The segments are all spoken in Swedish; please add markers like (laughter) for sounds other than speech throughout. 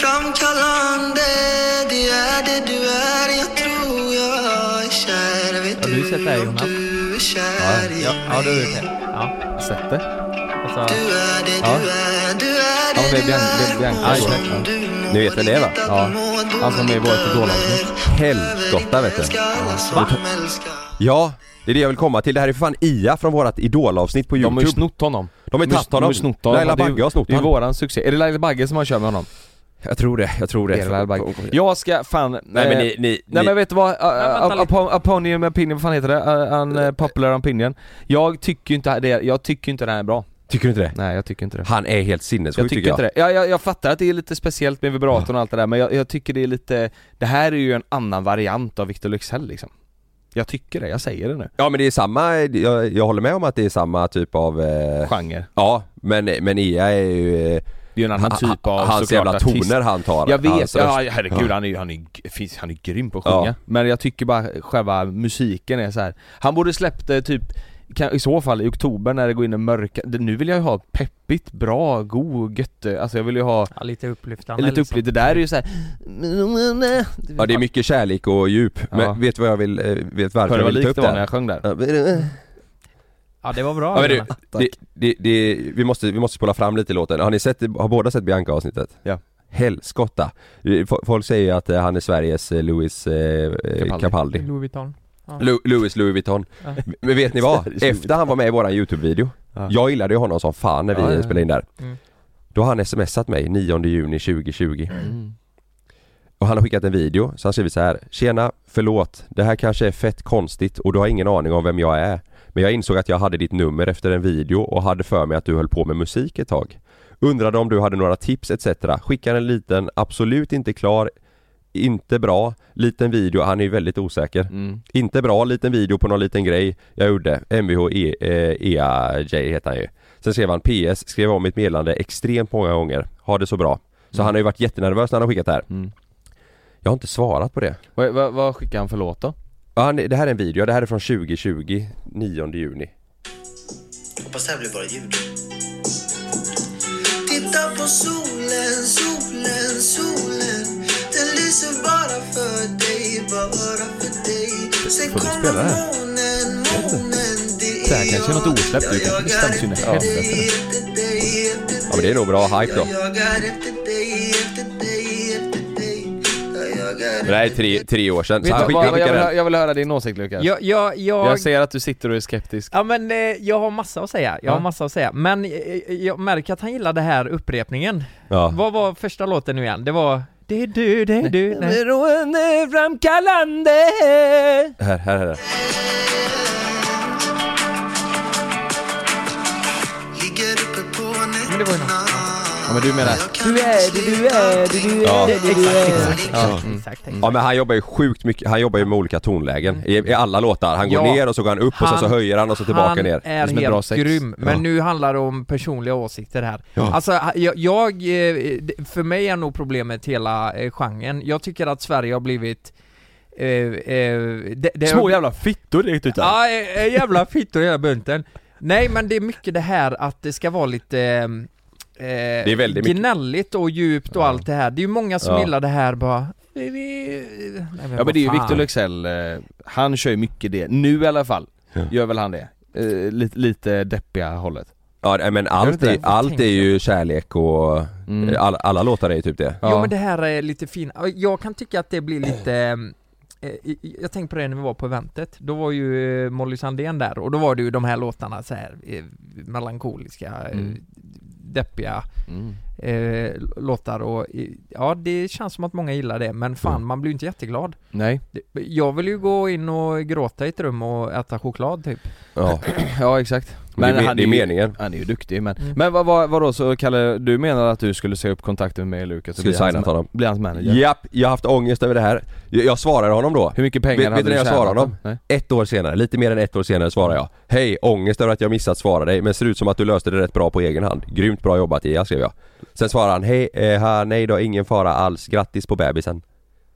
Beroendeframkallande, det är det du är. Jag tror jag är kär. Vet Har du sett det här, du om Jonas? du är kär i Ja, ja, du har mig? gjort det. Ja. Sett det? Alltså, Du är det Ja. du är, du är Ja, det det är du Bian- det är är. Bianca Må som- som du mår, Ni vet vem det är, va? vet att Ja. du mår Han som är dåligt vårt idolaktigt. över. Helskotta, vet du. Älskar alla Va? som älskar. Ja, det är det jag vill komma till. Det här är för fan IA från vårat idolavsnitt på De har ju youtube. snott honom. De har ju De tagit honom. ju snott honom. Laila Det är ju- Bagge har snott Det är ju honom. våran succé. Är det Laila Bagge som har kört med honom? Jag tror det, jag tror Det det. är Laila Bagge. Jag ska fan... eh, Nej men ni, ni, Nej ni men vet du vad? Uh, vänta uh, upon, opinion opinion, vad fan heter det? Uh, un, uh, popular opinion. Jag tycker ju inte det, jag tycker ju inte den är bra. tycker du inte det? Nej jag tycker inte det. Han är helt Jag sinnessjuk tycker inte det. Jag, jag, jag fattar att det är lite speciellt med vibratorn och allt det där men jag, jag tycker det är lite, det här är ju en annan variant av Victor Luxell liksom. Jag tycker det, jag säger det nu. Ja men det är samma, jag, jag håller med om att det är samma typ av... Eh, Genre. ja, men, men IA är ju... Eh, Det är ju en annan ha- typ av hans såklart jävla artist. toner han tar. Jag vet, Hans röst. ja, herregud han är ju han är, g- finns- han är grym på att sjunga. Ja. Men jag tycker bara själva musiken är så här. han borde släppt eh, typ kan, i så fall i oktober när det går in en mörka, det- nu vill jag ju ha peppigt, bra, god, gött, eh, alltså jag vill ju ha Ja, lite upplyftande. liksom. lite upplyft, det där är ju så här. Ja det är mycket kärlek och djup. Men Ja. vet du vad jag vill, eh, vet varför Hör du jag vad vill ta likt upp det det? var när här? jag sjöng där? eh. Ja, det var bra. Ja, men du, Jonas. det, det, det, vi, måste, vi måste spola fram lite i låten. Har ni sett, har båda sett Bianca-avsnittet? Ja. Helskotta. Eh, fo- Folk säger ju att eh, han är Sveriges eh, Louis eh, Capaldi. Capaldi. Capaldi. Louis Vuitton. Lu- Louis Louis Vuitton. Ja. Men vet ni Sveriges vad? Louis Efter han var med i våran YouTube-video, Ja. jag gillade ju honom som fan när vi Ja, ja, ja. spelade in där. Mm. Då har han smsat mig 9 juni 2020 Mm. och han har skickat en video, så han skriver så här. Tjena, förlåt, det här kanske är fett konstigt och du har ingen aning om vem jag är. Men jag insåg att jag hade ditt nummer efter en video och hade för mig att du höll på med musik ett tag. Undrade om du hade några tips etc. Skickade en liten, absolut inte klar, inte bra, liten video. Han är ju väldigt osäker. Mm. Inte bra, liten video på någon liten grej jag gjorde. MVH E- eh, EAJ heter han ju. Sen skrev han PS, skrev om mitt meddelande extremt många gånger. Ha det så bra. Så han har ju varit jättenervös när han har skickat det här. Mm. Jag har inte svarat på det. Vad, vad, vad skickar han för låt då? Ja, han, det här är en video, det här är från 2020, 9 juni. Hoppas det här blir bara ljud. Titta på solen, solen, solen. Den lyser bara för dig, bara för dig. Sen Får du kommer spela det här? månen, månen, det är Det här kanske är något osläppt, du kanske bestämmer sig in i efter helvete. dig, efter dig, efter Ja men det är nog bra hype då. Jag jagar efter dig, efter dig, efter dig. Jag jagar Men det här är tre, tre år sedan, så Vet han du, skickade, vad, jag, vill, skickade hö- den. jag vill höra din åsikt Lukas. Jag, jag, jag, jag ser att du sitter och är skeptisk. ja men eh, jag har massa att säga, jag Ja. har massa att säga. Men eh, jag märker att han gillar det här upprepningen. Ja. Vad var första låten nu igen? Det var Det är du, det är du, nej. Beroendeframkallande Här, här, här. Ligger uppe på Men det var ju något. nätterna. Ja men du menar, Du är det du är, det du Ja. Exakt, Ja. exakt, exakt, exakt. ja men han jobbar ju sjukt mycket, han jobbar ju med olika tonlägen i, i alla låtar. Han går Ja. ner och så går han upp och sen så Han- höjer han och så tillbaka han ner. är som ett helt bra sex. grym, men Ja. nu handlar det om personliga åsikter här. Ja. Alltså, ha- jag, jag, eh, det- för mig är nog problemet hela eh, genren. Jag tycker att Sverige har blivit... Eh, eh, det, det små jävla fittor direkt ut Ja, eh, eh, jävla fittor i hela bunten. Nej men det är mycket det här att det ska vara lite... Eh, det är väldigt mycket. Gnälligt och djupt och allt det här. Det är ju många som Ja. gillar det här bara... "Eh, vi- eh, nej, Ja men vad det är ju fan." Victor Luxell, eh, han kör ju mycket det, nu i alla fall, gör väl han det. Eh, lite, lite deppiga hållet. Ja nej, men allt, inte är, det? allt är ju kärlek och Mm. alla, alla låtar är ju typ det. Ja. Jo men det här är lite fin. Jag kan tycka att det blir lite eh, eh, jag tänkte på det när vi var på eventet, då var ju eh, Molly Sandén där och då var det ju de här låtarna så här eh, melankoliska, eh, Mm. deppiga, Mm. eh, låtar och eh, ja, det känns som att många gillar det men fan Mm. man blir ju inte jätteglad. Nej. (clears throat) Det- Jag vill ju gå in och gråta i ett rum och äta choklad typ. Ja, Ja exakt. men det, är me- han det är ju- meningen. Han är ju duktig men, Mm. men vad, vad, vadå så Kalle, du menar att du skulle säga upp kontakten med mig och Lukas och Skulle bli hans signat ma- honom. Bli hans manager? Japp, jag har haft ångest över det här. Jag, jag svarade honom då. Hur mycket pengar Vet- hade vet ni du när jag tjänat svarar honom? då? Nej. Ett år senare, lite mer än ett år senare svarar jag Hej, ångest över att jag missat svara dig men ser ut som att du löste det rätt bra på egen hand. Grymt bra jobbat Ia skrev jag. Sen svarar han Hej, eh, ha, nej då, ingen fara alls. Grattis på bebisen.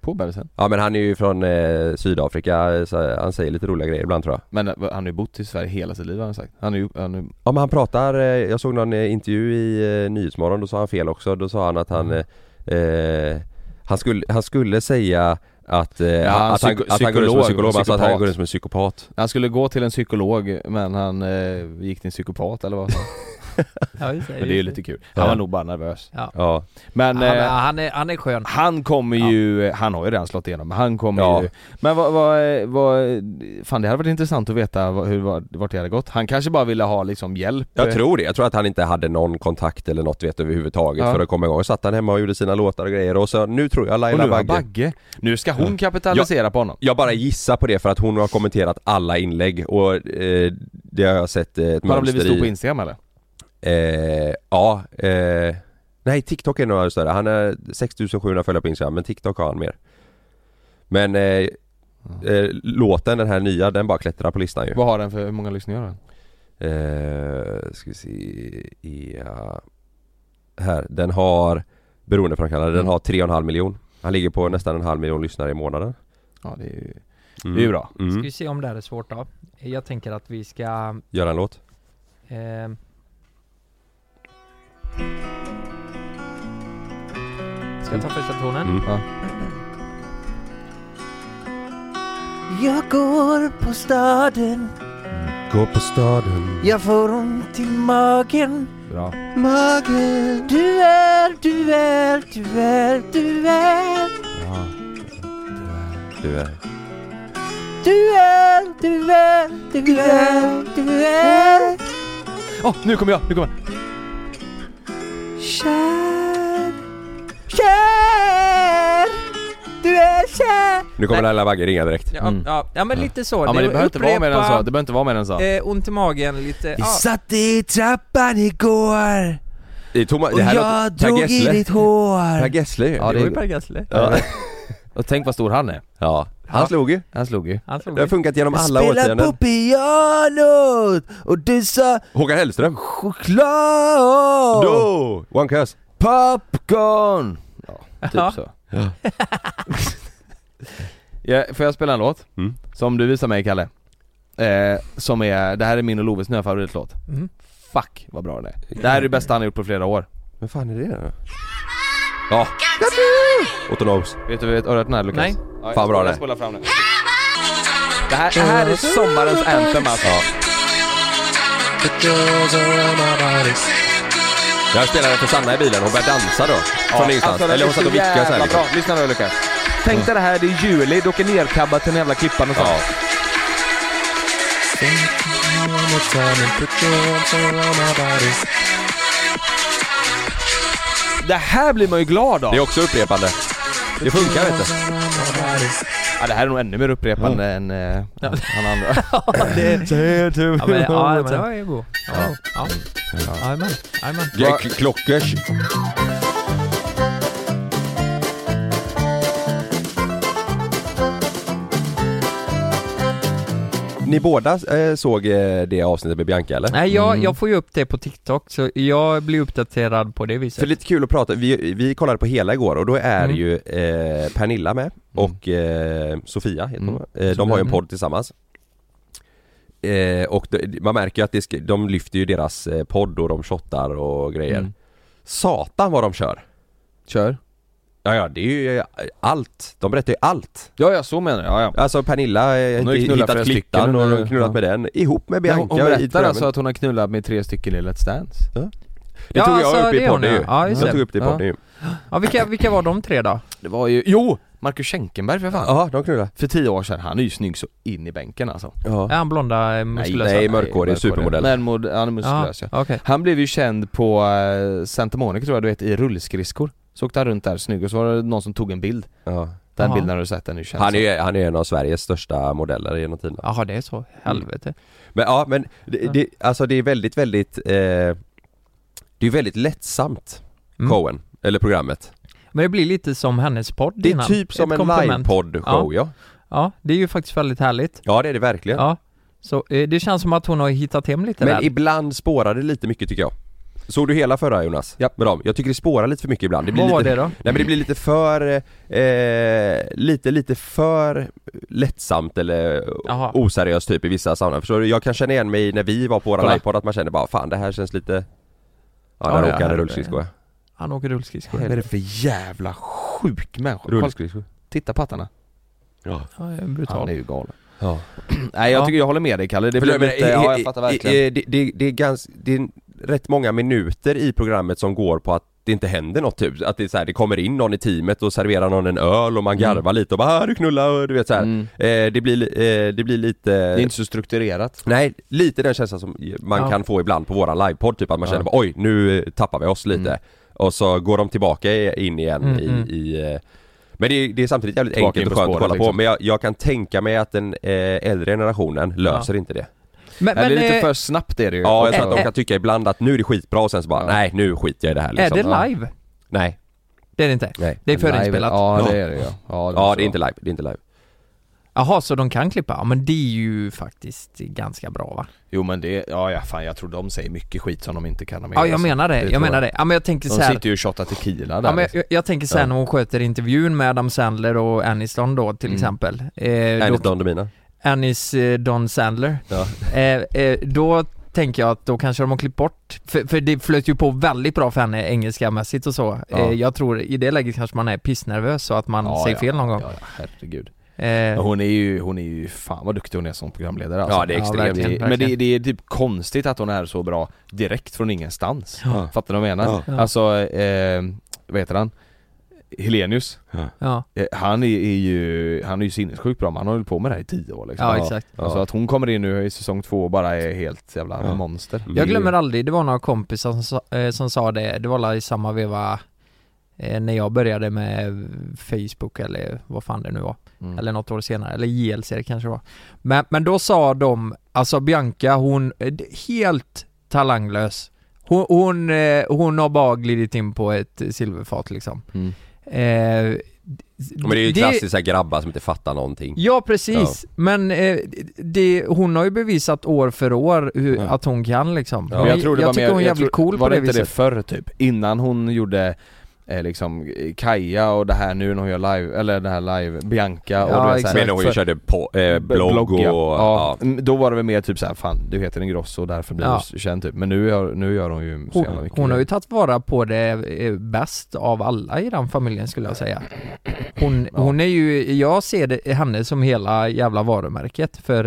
På bebisen? Ja men han är ju från eh, Sydafrika, så han säger lite roliga grejer ibland tror jag. Men eh, vad- han har ju bott i Sverige hela sitt liv har han sagt. Han är ju, han är, Ja men han pratar, eh, jag såg någon eh, intervju i eh, Nyhetsmorgon, då sa han fel också. Då sa han att han eh, eh, han, skulle, han skulle säga att, eh, Ja, han att, han, psyko- att han går runt som en psykolog, psykolog, men han sa att han psykopat. går runt som en psykopat. han skulle gå till en psykolog men han eh, gick till en psykopat eller vad Ja, just Men det är ju lite kul. Ja. Han var nog bara nervös. Ja. Men Han, eh, han, är, han är skön. han kommer Ja. ju, han har ju redan slått igenom, men han kommer Ja. ju Men vad, vad, eh, vad, fan det hade varit intressant att veta vad- hur, vad- vart det hade gått. Han kanske bara ville ha liksom hjälp. Jag tror det. Jag tror att han inte hade någon kontakt eller något vet överhuvudtaget Ja. för att komma igång. Och satt han hemma och gjorde sina låtar och grejer och så nu tror jag eh, Och nu Laila är han Bagge. Bagge. Nu ska hon kapitalisera på honom. Jag bara gissar på det för att hon har kommenterat alla inlägg och eh, det har jag sett eh, ett Han har blivit mönster stor på i. Instagram eller? Eh, ja, eh, nej TikTok är nog större. Han är 6700 följare på Instagram men TikTok har han mer. Men eh, eh, låten, den här nya, den bara klättrar på listan ju. Vad har den för, hur många lyssningar har den? Eh, ska vi se, ja. Här, den har Beroendeframkallande, den Mm. har 3,5 miljon Han ligger på nästan en halv miljon lyssnare i månaden Ja det är ju, mm. det är ju bra. mm. Ska vi se om det här är svårt då. Jag tänker att vi ska... Gör en låt Eh, Ska jag ta första tonen? Mm. Ja. Jag går på staden, Gå på staden jag får ont i magen Bra. Magen Du är, du är, du är, du är Du eh, är Du är, du är, du är, du är Åh, nu kommer jag, nu kommer jag! Kär Kär Du är kär Nu kommer Laila Bagge ringa direkt Ja, Mm. ja, ja men lite så. Ja men det behöver inte vara mer än så, upprepa, det behöver inte vara mer än så. Eh, ont i magen lite. Vi Ja, satt i trappan igår Det är Thomas, och det här jag låter Per drog i Gessle ditt hår Per Gessle ju. Ja, det- det var ju Per Gessle. ja. Och tänk vad stor han är. ja, han slog ju Han slog ju. Han slog Det har det. funkat genom Jag alla spelade på årtionden pianot och du sa Håkan Hellström choklad Då! One Cuss Popcorn! Ja, Ja. typ så. (laughs) ja, får jag spela en låt? Mm. Som du visar mig Kalle? Eh, som är, det här är min och Loves nya favoritlåt. Mm. Fuck vad bra den är. Det här är det bästa han har gjort på flera år. Vad fan är det då? Ja, Otto Knows Vet du, vet, har du hört den här Lukas? Nej. Ja, jag Fan, bra spolar- den. spolar fram nu. Det här, det här är sommarens anthem alltså. Jag spelade för Sanna i bilen, hon började dansa då Från ingenstans, den eller alltså, hon satt är så och viskade såhär jävla liksom. bra. Lyssna nu Lukas. Tänk dig det här, det är juli, du åker nerkabbad till den jävla klippan och sånt. Ja. Det här blir man ju glad av! Det är också upprepande. Det funkar vet du. Ja, det här är nog ännu mer upprepande än eh, han (laughs) andra. Ja men, ja, men det var ju god. Ja, ja. Jajamän, jajamän. Ja, k- Klockers. Ni båda eh, såg eh, det avsnittet med Bianca eller? Nej jag, jag får ju upp det på TikTok så jag blir uppdaterad på det För viset. lite kul att prata, vi, vi kollade på hela igår och då är Mm. ju eh, Pernilla med och eh, Sofia heter Mm. hon va? eh, De har ju en Mm. podd tillsammans eh, Och det- man märker ju att det, sk- de lyfter ju deras eh, podd och de shottar och grejer Mm. Satan vad de kör! Kör. Ja ja, det är ju eh, allt, de berättar ju allt! Ja, ja, så menar jag. Ja, ja. Alltså Pernilla eh, Hon har ju inte knullat hittat flera klittan stycken, och hon har- hon har knullat ja. med den ihop med Bianca Hon, hon i berättar programmet. alltså att hon har knullat med tre stycken i Let's Dance. Det Ja, tog jag alltså, upp det i är hon, podden ja. ju! Ja, just jag det. tog upp det i Ja. podden ju Ja vilka, vilka var de tre då? Det var ju, jo! Marcus Schenkenberg för fan. Ja, de knullar. För tio år sedan, han är ju snygg så in i bänken alltså. Ja. Är han blonda, eh, muskulösa? nej, mörkhårig supermodell. Men mod, han är muskulös ja. Ja, okej. Han blev ju känd på eh, Santa Monica tror jag du vet, i rullskridskor. Så åkte han runt där snygg och så var det någon som tog en bild. Ja. Den Jaha. bilden har du sett, den är ju känd. Han är ju han är en av Sveriges största modeller genom tiderna. Jaha, det är så. Helvete. Men ja, men det, Ja. det, alltså det är väldigt, väldigt eh, Det är väldigt lättsamt, Mm. Coen, eller programmet. Men det blir lite som hennes podd Det är innan. typ Ett som en komplement. livepodd-show ja. ja. Ja, det är ju faktiskt väldigt härligt. det är det verkligen. Ja. Så eh, det känns som att hon har hittat hem lite men där. ibland spårar det lite mycket tycker jag. Såg du hela förra Jonas? Ja. Med dem? Jag tycker det spårar lite för mycket ibland. Det blir Vad var lite, det då? Nej men det blir lite för, eh, lite, lite för lättsamt eller Jaha. oseriöst typ i vissa sammanhang. Förstår du? Jag kan känna igen mig när vi var på våran Kolla. livepodd att man känner bara fan det här känns lite Ja, Ja, där det åker han i är- rullskridskor ja. Han åker rullskridskor. Vad är det för jävla sjuk människa? Kolla, Rullskridskor. titta på pattarna. Ja, det är Han brutalt. är ju galen. Ja. Nej jag Ja. tycker jag håller med dig Kalle, Det, det blir lite, ja jag fattar verkligen. det, det, det, är ganska, det är rätt många minuter i programmet som går på att det inte händer något typ. Att det, är så här, det kommer in någon i teamet och serverar någon en öl och man garvar lite och bara "Ah, du knullar och du vet så här. Mm. Eh, det, blir, li- eh, det blir lite Det är inte så strukturerat. Nej, lite den känslan som man Ja. kan få ibland på våran livepodd, typ att man Ja. känner bara, oj nu eh, tappar vi oss lite Mm. Och så går de tillbaka in igen Mm, i, mm. i eh, Men det är, det är samtidigt jävligt Tillbaka in enkelt på och skönt att spåret, kolla på, liksom. men jag, jag kan tänka mig att den eh, äldre generationen löser inte det Men, Nej, det men är lite eh, för snabbt är det ju. Ja, jag tror också. att de kan tycka ibland att nu är det skitbra och sen så bara, Ja. nej nu skiter jag i det här liksom. eh, är Ja. det live? Nej, Det är det inte? nej Det är förinspelat? Ja det är det ja. Ja Ja måste det är inte vara. live, det är inte live Jaha, så de kan klippa? Ja, men det är ju faktiskt ganska bra va? Jo men det, ja ja, fan jag tror de säger mycket skit som de inte kan ha med Ja, jag alltså. menar det. tror Jag menar det. Ja, men jag tänker De så här. sitter ju och shottar tequila där Ja, men liksom. jag, jag tänker sen Ja. när hon sköter intervjun med Adam Sandler och Aniston då till Mm. exempel. Eh, Enligt då, Don Demina Anis eh, Don Sandler. Ja. Eh, eh, då tänker jag att då kanske de har klippt bort, för, för det flöt ju på väldigt bra för henne engelskamässigt och så. Ja. Eh, jag tror i det läget kanske man är pissnervös så att man Ja, säger ja. fel någon gång. Ja, ja, herregud. Eh, Men Hon är ju, hon är ju, fan vad duktig hon är som programledare alltså. Ja det är Ja, extremt verkligen. Det- Men det, det är typ konstigt att hon är så bra direkt från ingenstans. Ja. Fattar du vad jag menar? Ja. Alltså, eh, vad heter han? Helenius. ja. Eh, Han är, är ju, han är ju sinnessjukt bra men han har hållit på med det här i tio år liksom. ja, exakt. Alltså att hon kommer in nu i säsong två och bara är helt jävla Ja. monster. Mm. Jag glömmer aldrig, det var några kompisar som, sa- eh, som sa det, det var alla i samma veva eh, när jag började med Facebook eller vad fan det nu var. Mm. Eller något år senare, eller JLC det kanske det var. Men, men då sa de, alltså Bianca hon, eh, d- helt talanglös. Hon, hon, eh, hon har bara glidit in på ett silverfat liksom. Mm. Eh, men Men det är ju klassiskt såhär grabbar som inte fattar någonting Ja precis, men eh, det, hon har ju bevisat år för år hur, Ja. att hon kan liksom. Ja. Men Men jag tror det var tycker mer- hon är jag jävligt tror- cool var på det inte viset. det förr typ? Innan hon gjorde eh, liksom eh, Kaja och det här nu när hon gör live, eller det här live, Bianca och Ja, du vet, så här- Men hon ju för- körde på, eh, blogg, och, ja. ja. Ja. mm, Då var det väl mer typ såhär, fan du heter Ingrosso och därför blir Ja. du känd typ. Men nu gör, nu gör hon ju så jävla Hon, mycket hon har ju tagit vara på det eh, bäst av alla i den familjen skulle jag säga. Hon, Ja. hon är ju, jag ser det, henne som hela jävla varumärket för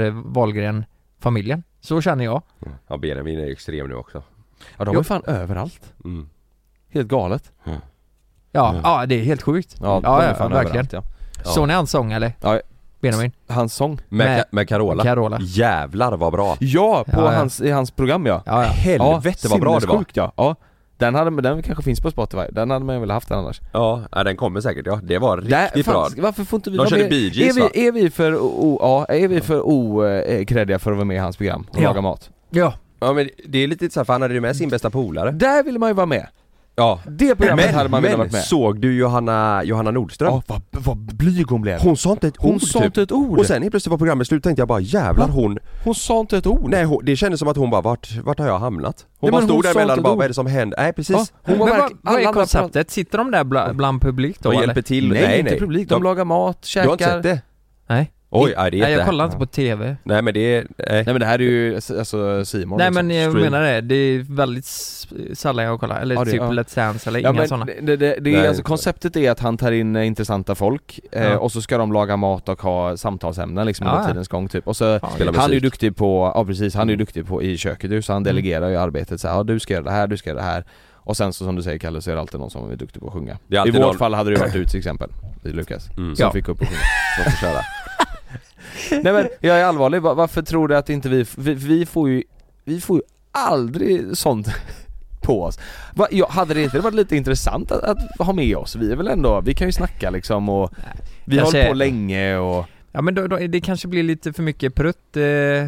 Wahlgren-familjen. Så känner jag. Ja Benjamin är ju extrem nu också Ja de är Jo. fan överallt. mm. Helt galet. Ja, Ja. ja. det är helt sjukt. Ja, Ja, de är ja, fan verkligen. överallt ja. Ja. Såg ni hans sång eller? Ja. Benjamin? Hans sång. Med, Med- Ka- med Carola. Carola. Jävlar vad bra! Ja, på Ja, ja. Hans, i hans program ja. Ja, ja. Helvete vad bra det var! sinnessjukt, Ja. ja. Den, hade, den kanske finns på Spotify, den hade man väl haft annars. Ja, nej, den kommer säkert ja. Det var Där- riktigt fan, bra. sk- Varför får inte vi De körde med? Bee Gees, va? är, vi, är vi för o, ja, är vi för o, eh, kreddiga för att vara med i hans program och Ja. laga mat? Ja. Ja men det är lite så här, för han hade ju med sin bästa polare. Där ville man ju vara med! Ja. Det programmet hade Men, man velat men varit med. såg du Johanna, Johanna Nordström? Ja, vad, vad blyg hon blev! Hon sa inte ett Hon ord sa typ. inte ett ord! Och sen helt plötsligt var programmet slut tänkte jag bara jävlar Va? hon, hon sa inte ett ord! nej hon, det kändes som att hon bara vart, vart har jag hamnat? Hon Nej, bara men stod hon där sa emellan inte och bara ett vad är det som händer? Nej precis. Ja, hon var Men vad, verkligen- vad alla är andra konceptet? Sitter de där bland, bland publik då och eller? hjälper till. Nej, inte publik, de, De- lagar mat, käkar... Du har inte sett det? Nej. Oj, nej, det är Nej, jag inte. kollar inte på TV. Nej men det är, nej. Nej men det här är ju alltså Simon Nej men jag stream. menar det, det är väldigt s- sällan jag kollar, eller Ja, det- typ ja. Let's Dance eller Ja, inga men sådana det, det, det Nej. är, alltså, konceptet är att han tar in eh, intressanta folk eh, Ja. och så ska de laga mat och ha samtalsämnen liksom Ja, under ja. tidens gång typ. Och så, Fan, Mm. Spela det- han är ju musik. Mm. duktig på, ja precis, han är ju duktig på i köket ju, så han delegerar ju arbetet så här, ja du ska göra det här, du ska göra det här. Och sen så som du säger Kalle så är det alltid någon som är duktig på att sjunga. Det är I alltid vårt någon- fall hade det ju varit du till exempel, i Lukas. Mm. Som Ja. fick upp och sjunga. Så får köra. (laughs) Nej men jag är allvarlig, Va- varför tror du att inte vi, vi, vi får ju, vi får ju aldrig sånt (laughs) på oss. Va, ja, hade det inte varit lite intressant att, att ha med oss? Vi är väl ändå, vi kan ju snacka liksom och vi Jag har hållit ser- på länge och Ja men då, då, det kanske blir lite för mycket prutt. Eh,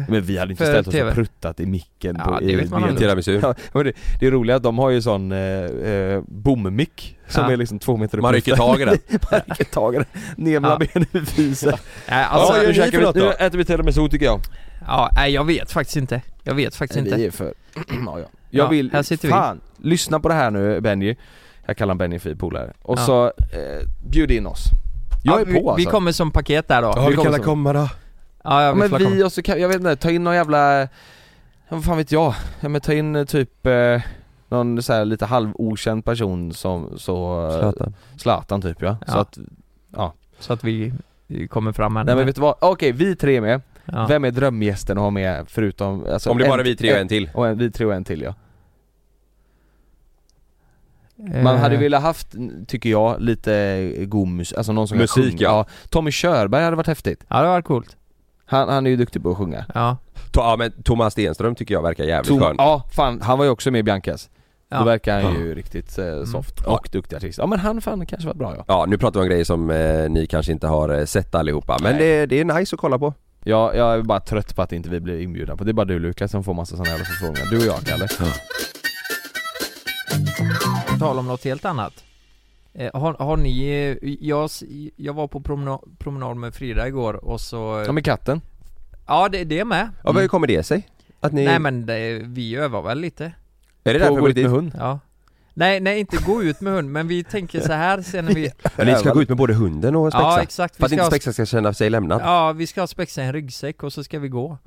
Men vi hade inte För ställt oss TV. och pruttat i micken Ja, på, det i, vet man med- aldrig. Tiramisu. Ja, men det, det är roligt att de har ju sån eh, eh, bommick som Ja. är liksom två meter upp Man i rycker luften. (laughs) tag i den. Man rycker tag i den, ner mellan Ja. benen i fisen nej, alltså, Ja, nu, gör ni käkar för vi- något nu då? äter vi tiramisu tycker jag ja, nej, jag vet faktiskt inte. Jag vet faktiskt Nej, inte. Vi är för... (clears throat) ja, ja. Ja, Jag vill... här sitter vi. fan, lyssna på det här nu Benji. Jag kallar honom Benji för polare. Och Ja. så, eh, bjud in oss. Jag är ja, vi, på alltså. vi kommer som paket där då. Ja, vi kommer så. komma då? Ja, ja, ja, vi men får komma. vi och så kan, jag vet inte, ta in någon jävla... ja, Vad fan vet jag? Ja, men ta in eh, typ eh, någon så här lite halvokänd person som så... eh, Zlatan. Zlatan typ ja. Så Ja. att, Så att vi vi kommer fram med nej men vet du vad? Okej, vi tre är med. ja. Vem är drömgästen att ha med förutom... Alltså, Om det en- bara är vi tre och en till. Och en, vi tre och en till ja. Man hade Eh, velat haft, tycker jag, lite god musik, alltså någon som kan Musik, sjunga. ja. Tommy Körberg hade varit häftigt. Ja, det var coolt. Han, han är ju duktig på att sjunga. Ja. To- Ja men Thomas Stenström tycker jag verkar jävligt Tom, skön. ja, fan, han var ju också med i Biancas. Ja. Då verkar han ju riktigt eh, soft och duktig artist. Ja men han fan kanske var bra ja. Ja nu pratar vi om grejer som eh, ni kanske inte har eh, sett allihopa men det, det är nice att kolla på. Jag, jag är bara trött på att inte vi blir inbjudna på det. är bara du Lukas som får massa sådana jävla förfrågningar. Du och jag Kalle. På tal om något helt annat. Eh, har, har ni, eh, jag, s- jag var på promena- promenad med Frida igår och så... Ja men katten. Ja, det, det är med. Ja Mm. men hur kommer det sig? Att ni... Nej men det, vi övar väl lite. är det På därför att vi gå går ut med dit? hund. Ja. Nej, nej inte gå ut med hund, men vi tänker så här (laughs) sen när vi... Ja, ni ska gå ut med både hunden och Spexa? Ja exakt, För vi att ska, inte ha, Spexa ska känna sig lämnad? ja, vi ska ha spexa i en ryggsäck och så ska vi gå.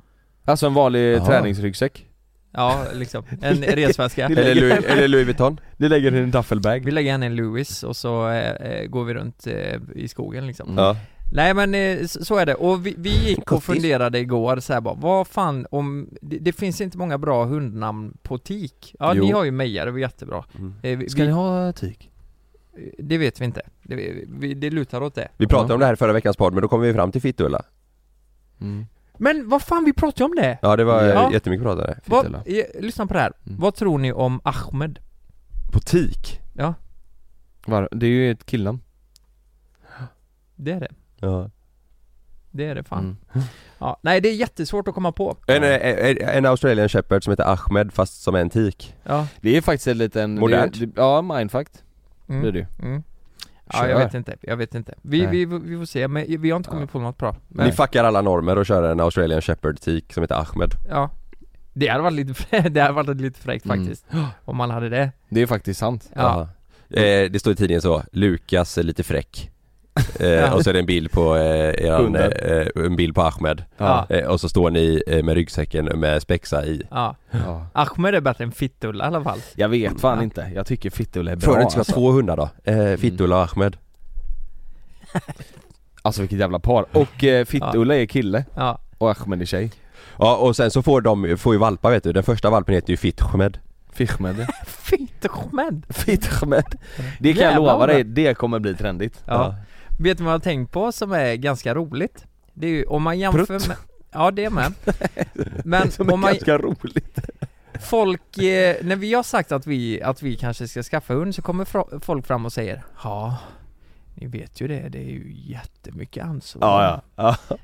Alltså en vanlig Jaha. träningsryggsäck. Ja, liksom. (laughs) En resväska. Eller, Louis, (laughs) eller Louis Vuitton? Ni lägger den i en duffelbag. Vi lägger henne i en Lewis och så eh, eh, går vi runt eh, i skogen liksom. Mm. Ja. Nej men eh, s- så är det, och vi, vi gick och Gottis. funderade igår så här bara, vad fan om, det, det finns inte många bra hundnamn på tik. Ja Jo. ni har ju Meja, det var jättebra. Mm. Eh, vi, Ska ni vi, ha tik? Eh, det vet vi inte, det, vi, det lutar åt det. Vi pratade om det här i förra veckans podd men då kom vi fram till Fittulla. Mm. Men vad fan, vi pratade om det! Ja det var eh, Ja. jättemycket pratade. Vad, Fittulla. eh, lyssna på det här, Mm. vad tror ni om Ahmed? Butik? Ja, Var, det är ju ett killnamn. det är det. Ja. Det är det fan. Mm. Ja, nej det är jättesvårt att komma på. En, en, en Australian Shepherd som heter Ahmed fast som är en tik. Ja, Det är faktiskt en liten... Modernt. Det, är- det, ja, mindfuck. mm, Det är det ju. Mm. Ja, Kör. jag vet inte, jag vet inte. Vi, Nej. vi, vi får se, men vi har inte kommit på något bra. Ni fuckar alla normer och kör en Australian Shepherd tik som heter Ahmed. Ja Det hade varit lite, frä- (laughs) det hade varit lite fräckt Mm. faktiskt Om man hade det Det är faktiskt sant. Ja, Ja. Eh, det står i tidningen så, Lukas är lite fräck. (laughs) Eh, och så är det en bild på eh, eran, Hunden. eh, en bild på Ahmed. ja, ja. Eh, och så står ni eh, med ryggsäcken med spexa i. Ja. Ahmed är bättre än Fittulla i alla fall Jag vet fan Ja. inte. Jag tycker Fittulle är bra För att ska alltså. alltså. två hundar då? Eh, Mm. Fittulla och Ahmed. alltså vilket jävla par. Och eh, Fittulle är kille (laughs) Ja, och Ahmed är tjej. Ja och sen så får de, får ju valpar vet du. Den första valpen heter ju Fittmed. (laughs) Fischmed. Fittumed! Fischmed. Det kan jag Jävlar lova vad dig, det kommer bli trendigt. Ja. Vet du vad jag har tänkt på som är ganska roligt? Det är ju om man Prutt. jämför med Ja det (laughs) är med Men om man, roligt. folk, eh, när vi har sagt att vi, att vi kanske ska skaffa hund så kommer fra- folk fram och säger Ja, ni vet ju det, det är ju jättemycket ansvar Ja, ja. ja.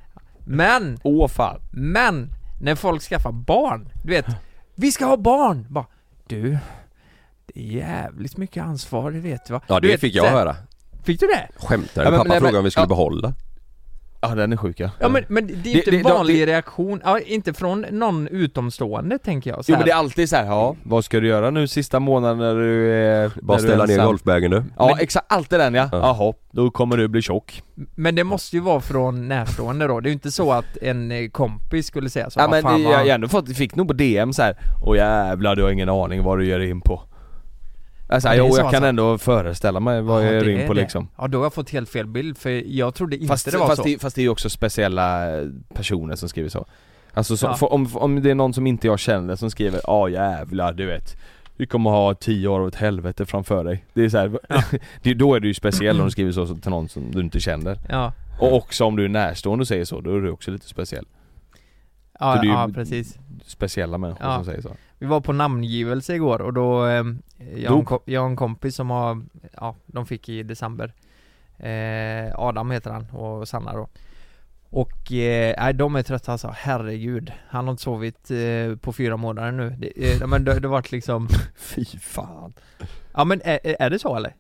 Men Åh fan. Men när folk skaffar barn, du vet Vi ska ha barn! Bara, du Det är jävligt mycket ansvar, det vet du va? Ja du det vet, fick jag så här- höra. Fick du det? Skämtar du? Ja, men- Pappa nej, men- frågade om vi skulle ja. behålla. Ja den är sjuk ja. Ja men, men det är inte Mm. det- en de- vanlig det- reaktion, ja, inte från någon utomstående tänker jag så Jo här. men det är alltid så här, ja vad ska du göra nu sista månaden när du är... Bara när du är ställa ner ensam? golfbägen du. Ja Men- exakt, alltid den ja. Ja. Jaha, då kommer du bli tjock. Men det måste ju vara från närstående då, det är ju inte så att en eh, kompis skulle säga så Ja "Vad men fan, jag, vad han- jag ändå fått, fick nog på DM så här. Åh jävlar du har ingen aning vad du ger dig in på. Alltså, Ja, det är jo, så jag kan alltså. ändå föreställa mig vad Ja, jag det ger in är på det. liksom. Ja då har jag fått helt fel bild för jag trodde inte Fast, det var fast, så det, fast det är ju också speciella eh, personer som skriver så. Alltså så, Ja. för, om, om det är någon som inte jag känner som skriver ja jävlar du vet. Du kommer ha tio år av ett helvete framför dig. Det är så här, (laughs) det, då är du ju speciell om du skriver så till någon som du inte känner. Ja, Och också om du är närstående och säger så, då är du också lite speciell. För ja, det är ju- ja precis. Speciella människor Ja. som säger så. Vi var på namngivelse igår och då, eh, jag, har en Dog. ko- jag har en kompis som har, ja, de fick i december eh, Adam heter han och Sanna då Och, eh, nej de är trötta alltså, herregud Han har inte sovit eh, på fyra månader nu det, eh, men det, det har varit liksom, Fy fan. ja men är, är det så eller?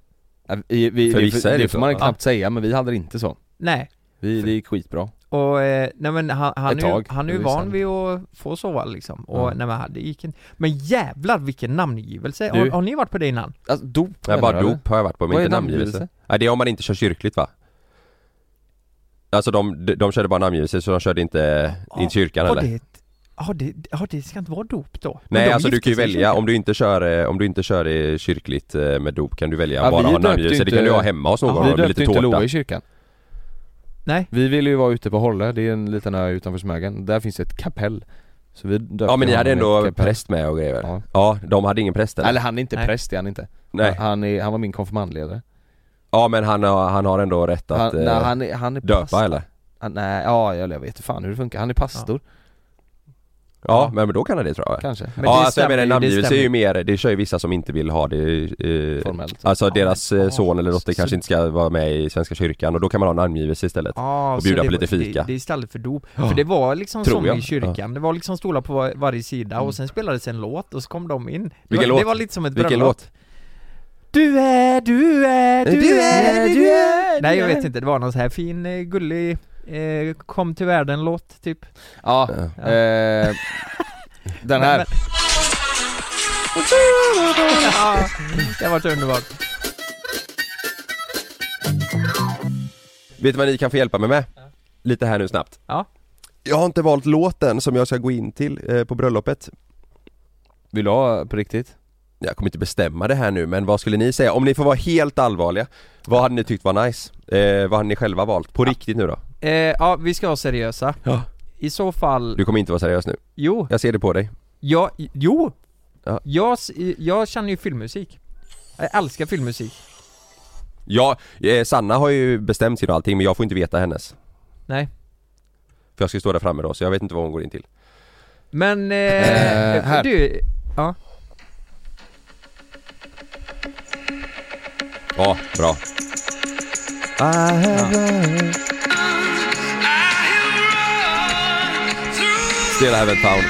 Äh, Vi, vi, För det, vissa är det, det det så. får man Ja. knappt säga, men vi hade det inte så. Nej Vi, det gick skitbra. Och, eh, nej men han, han, Ett är, ju, tag, han är ju det är van sant. vid att få sova liksom, och Ja. nej men det gick inte Men jävlar vilken namngivelse! Har, Du- har ni varit på det innan? Alltså dop Nej, menar bara du, dop har jag varit på, men Vad inte är namngivelse? namngivelse. Nej, det är om man inte kör kyrkligt va? Alltså de, de, de körde bara namngivelse så de körde inte, Ja, inte kyrkan Har eller? det, ja, det, ja det ska inte vara dop då? Men Nej de alltså du kan gifte ju sig i välja, kyrkan. om du inte kör, eh, om du inte kör eh, kyrkligt eh, med dop kan du välja Ja, bara vi ha döpte namngivelse, det inte- kan du ha hemma hos någon Ja, och Vi med döpte lite inte tårta. Loa i kyrkan. Nej, Vi ville ju vara ute på Hållö, det är en liten ö utanför Smögen. Där finns ett kapell. Så vi döpte Ja men ni honom hade i ett ändå kapell. präst med och grejer? Ja. Ja, de hade ingen präst eller? Eller han är inte Nej. präst, det är han inte. Nej. Han, är, han var min konfirmandledare. Ja men han, har- han har ändå rätt att han, eh, nej, han, är, han är döpa pastor. eller? Han, nej, ja jag vet inte fan hur det funkar. Han är pastor, Ja, men men då kan han det tror jag. kanske. men ja det alltså jag stämmer menar ju, det namngivelse är stämmer ju mer, det kör ju vissa som inte vill ha det eh, Formellt. Alltså Ja, deras men- eh, ja, son eller dotter så- kanske inte ska vara med i Svenska kyrkan och då kan man ha namngivelse istället. Ah, Och så bjuda det på lite var- fika. Det, det är istället för dop. Ja. För det var liksom Tror som jag. Mm. i kyrkan, det var liksom stolar på var, varje sida och sen spelades en låt och så kom de in. Det Vilken var, Det låt? var lite som ett Vilken bröllop. låt? Du är, du är, du, Du är, är, du du är Nej jag är. vet inte, det var någon så här fin, eh, gullig eh, Kom till världen-låt typ Ja, Ja. Eh, den här. Ja, Det var så underbart Vet du vad ni kan få hjälpa mig med? Lite här nu snabbt. Ja. Jag har inte valt låten som jag ska gå in till eh, på bröllopet. Vill du ha på riktigt? Jag kommer inte bestämma det här nu men vad skulle ni säga? Om ni får vara helt allvarliga, vad hade ni tyckt var nice? Eh, vad hade ni själva valt? På riktigt nu då? eh, Ja vi ska vara seriösa Ja. I så fall, Du kommer inte vara seriös nu. jo, Jag ser det på dig. ja, jo! Ja. Jag, s- jag känner ju filmmusik Jag älskar filmmusik Ja, eh, Sanna har ju bestämt sig och allting men jag får inte veta hennes. Nej För jag ska stå där framme då så jag vet inte vad hon går in till. Men, eh, Eh, här. du, ja Ja, bra. Still haven't found.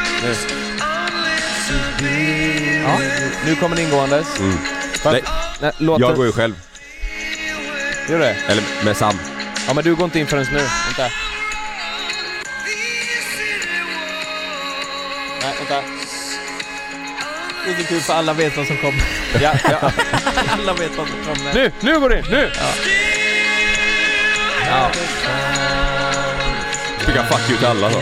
Ja. Nu kommer den ingåendes. Mm. Nej, Nej, låten. jag går ju själv. Gör du det? Eller med Sam. Ja men du går inte in förrän nu. Vänta. Nej, vänta. Det är kul för alla vet vad som kommer Ja, ja. (laughs) Alla vet vad som kommer Nu, nu går du in! Nu! Skicka fuck you till alla då.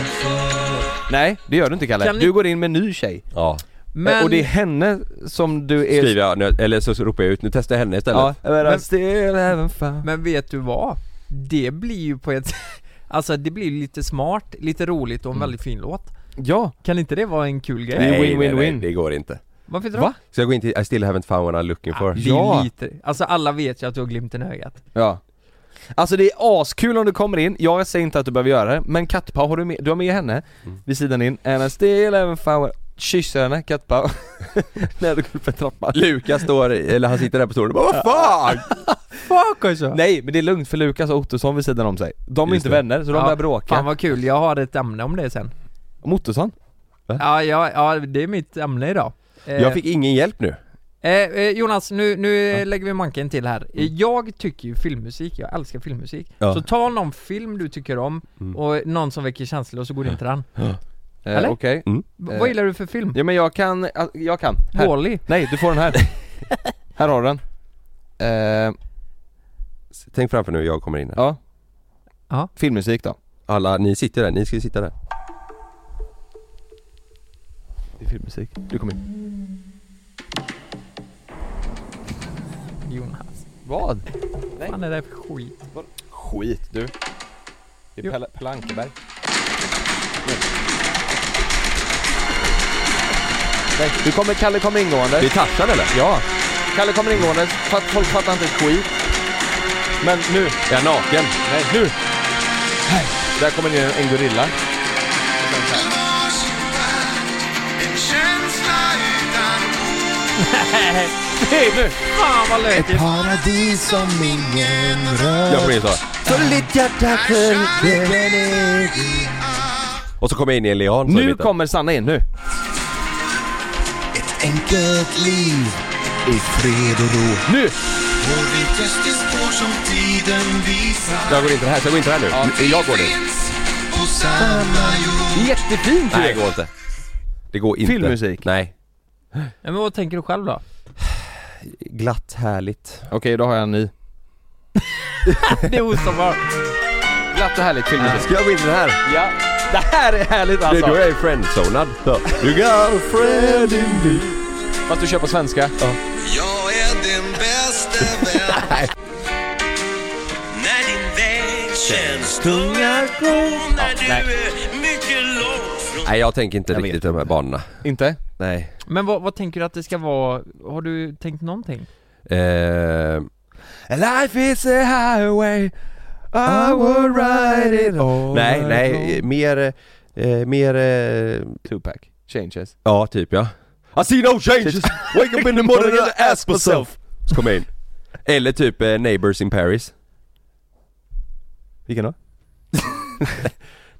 Nej, det gör du inte Kalle. Kan ni- Du går in med en ny tjej. Ja. Men, Och det är henne som du är... Skriver jag, nu- eller så ropar jag ut, nu testar jag henne istället. Ja, men, Men- men, still haven't found. men vet du vad? Det blir ju på ett (laughs) Alltså det blir lite smart, lite roligt och Mm. en väldigt fin låt Ja, Kan inte det vara en kul grej? Det är win, win, win. det går inte. Varför inte Va? Ska jag gå in till I still haven't found what I'm looking då? for? Det Ah, Ja. är lite, alltså alla vet ju att du har glimten i ögat Ja. Alltså det är askul om du kommer in, jag säger inte att du behöver göra det, men Kattpau har du med, du har med henne vid sidan in, and I still haven't found Kysser henne, Kattpau, (laughs) när du går upp för trappan (laughs) Lukas står, eller han sitter där på stolen och bara vad fan! Fuck alltså! Nej men det är lugnt för Lukas och Ottosson vid sidan om sig, de är Just inte det. vänner så de börjar bråka Fan vad kul, jag har ett ämne om det sen Om Ottosson? Ja, ja, ja det är mitt ämne idag eh, Jag fick ingen hjälp nu. eh, eh, Jonas, nu, nu eh, lägger vi manken till här Eh, Jag tycker ju filmmusik, jag älskar filmmusik Ja. Så ta någon film du tycker om och någon som väcker känslor och så går du in till den Eh, Eller? Okej V- Eh. Vad gillar du för film? Ja men jag kan, äh, jag kan, här. Wall-E? Nej du får den här Här har du den eh, Tänk framför nu, jag kommer in här. ja Ja. Filmmusik då Alla, ni sitter där, ni ska ju sitta där. Det är filmmusik, du kommer in Jonas, Vad? vad fan är det här för skit? Skit du Det Jo. är Pelle, Pelle Ankerberg Nej, nu kommer Kalle kommer ingående. Det är Tarzan eller? Ja. Kalle kommer ingående, för att folk fattar inte ett skit. Men nu, Är han naken? nej nu! Här. Där kommer det en Äh, gorilla. Nu! Fan vad lökigt! Paradis som ingen Jag får rör in så. Så ditt hjärta sjunker Och så kommer jag in i en lian. så är Nu det mitt. kommer Sanna in, nu! Ett enkelt liv i fred och ro Nu! Och vi det spår som tiden visar Jag går inte här, så jag går inte här nu. Nu- Jag går nu. På samma jord Jättefint Nej, det Diego! går inte. Det går inte. Filmmusik. Nej. Men vad tänker du själv då? Glatt, härligt. Okej, då har jag en ny. Det är ostoppbart. Glatt och härligt filmmusik. Ska jag gå in i den här? Ja. Det här är härligt Det, alltså! då är jag ju friendzonad. Så. You got a friend in me. Fast du kör på svenska. Jag är din bästa (laughs) vän När din väg känns tung att gå När du är mycket långt från Nej, jag tänker inte Jag riktigt de här banorna. Inte? Nej. Men vad, vad tänker du att det ska vara? Har du tänkt någonting? Eh, Life is a highway I would ride it nej, nej. eh, Mer, eh, mer, eh, Tupac, changes. ja typ ja. I see no Typ. changes. Wake up in the (laughs) morning and ask myself. Så kommer jag in. Eller typ eh, Neighbors in Paris. (laughs) Vilken då?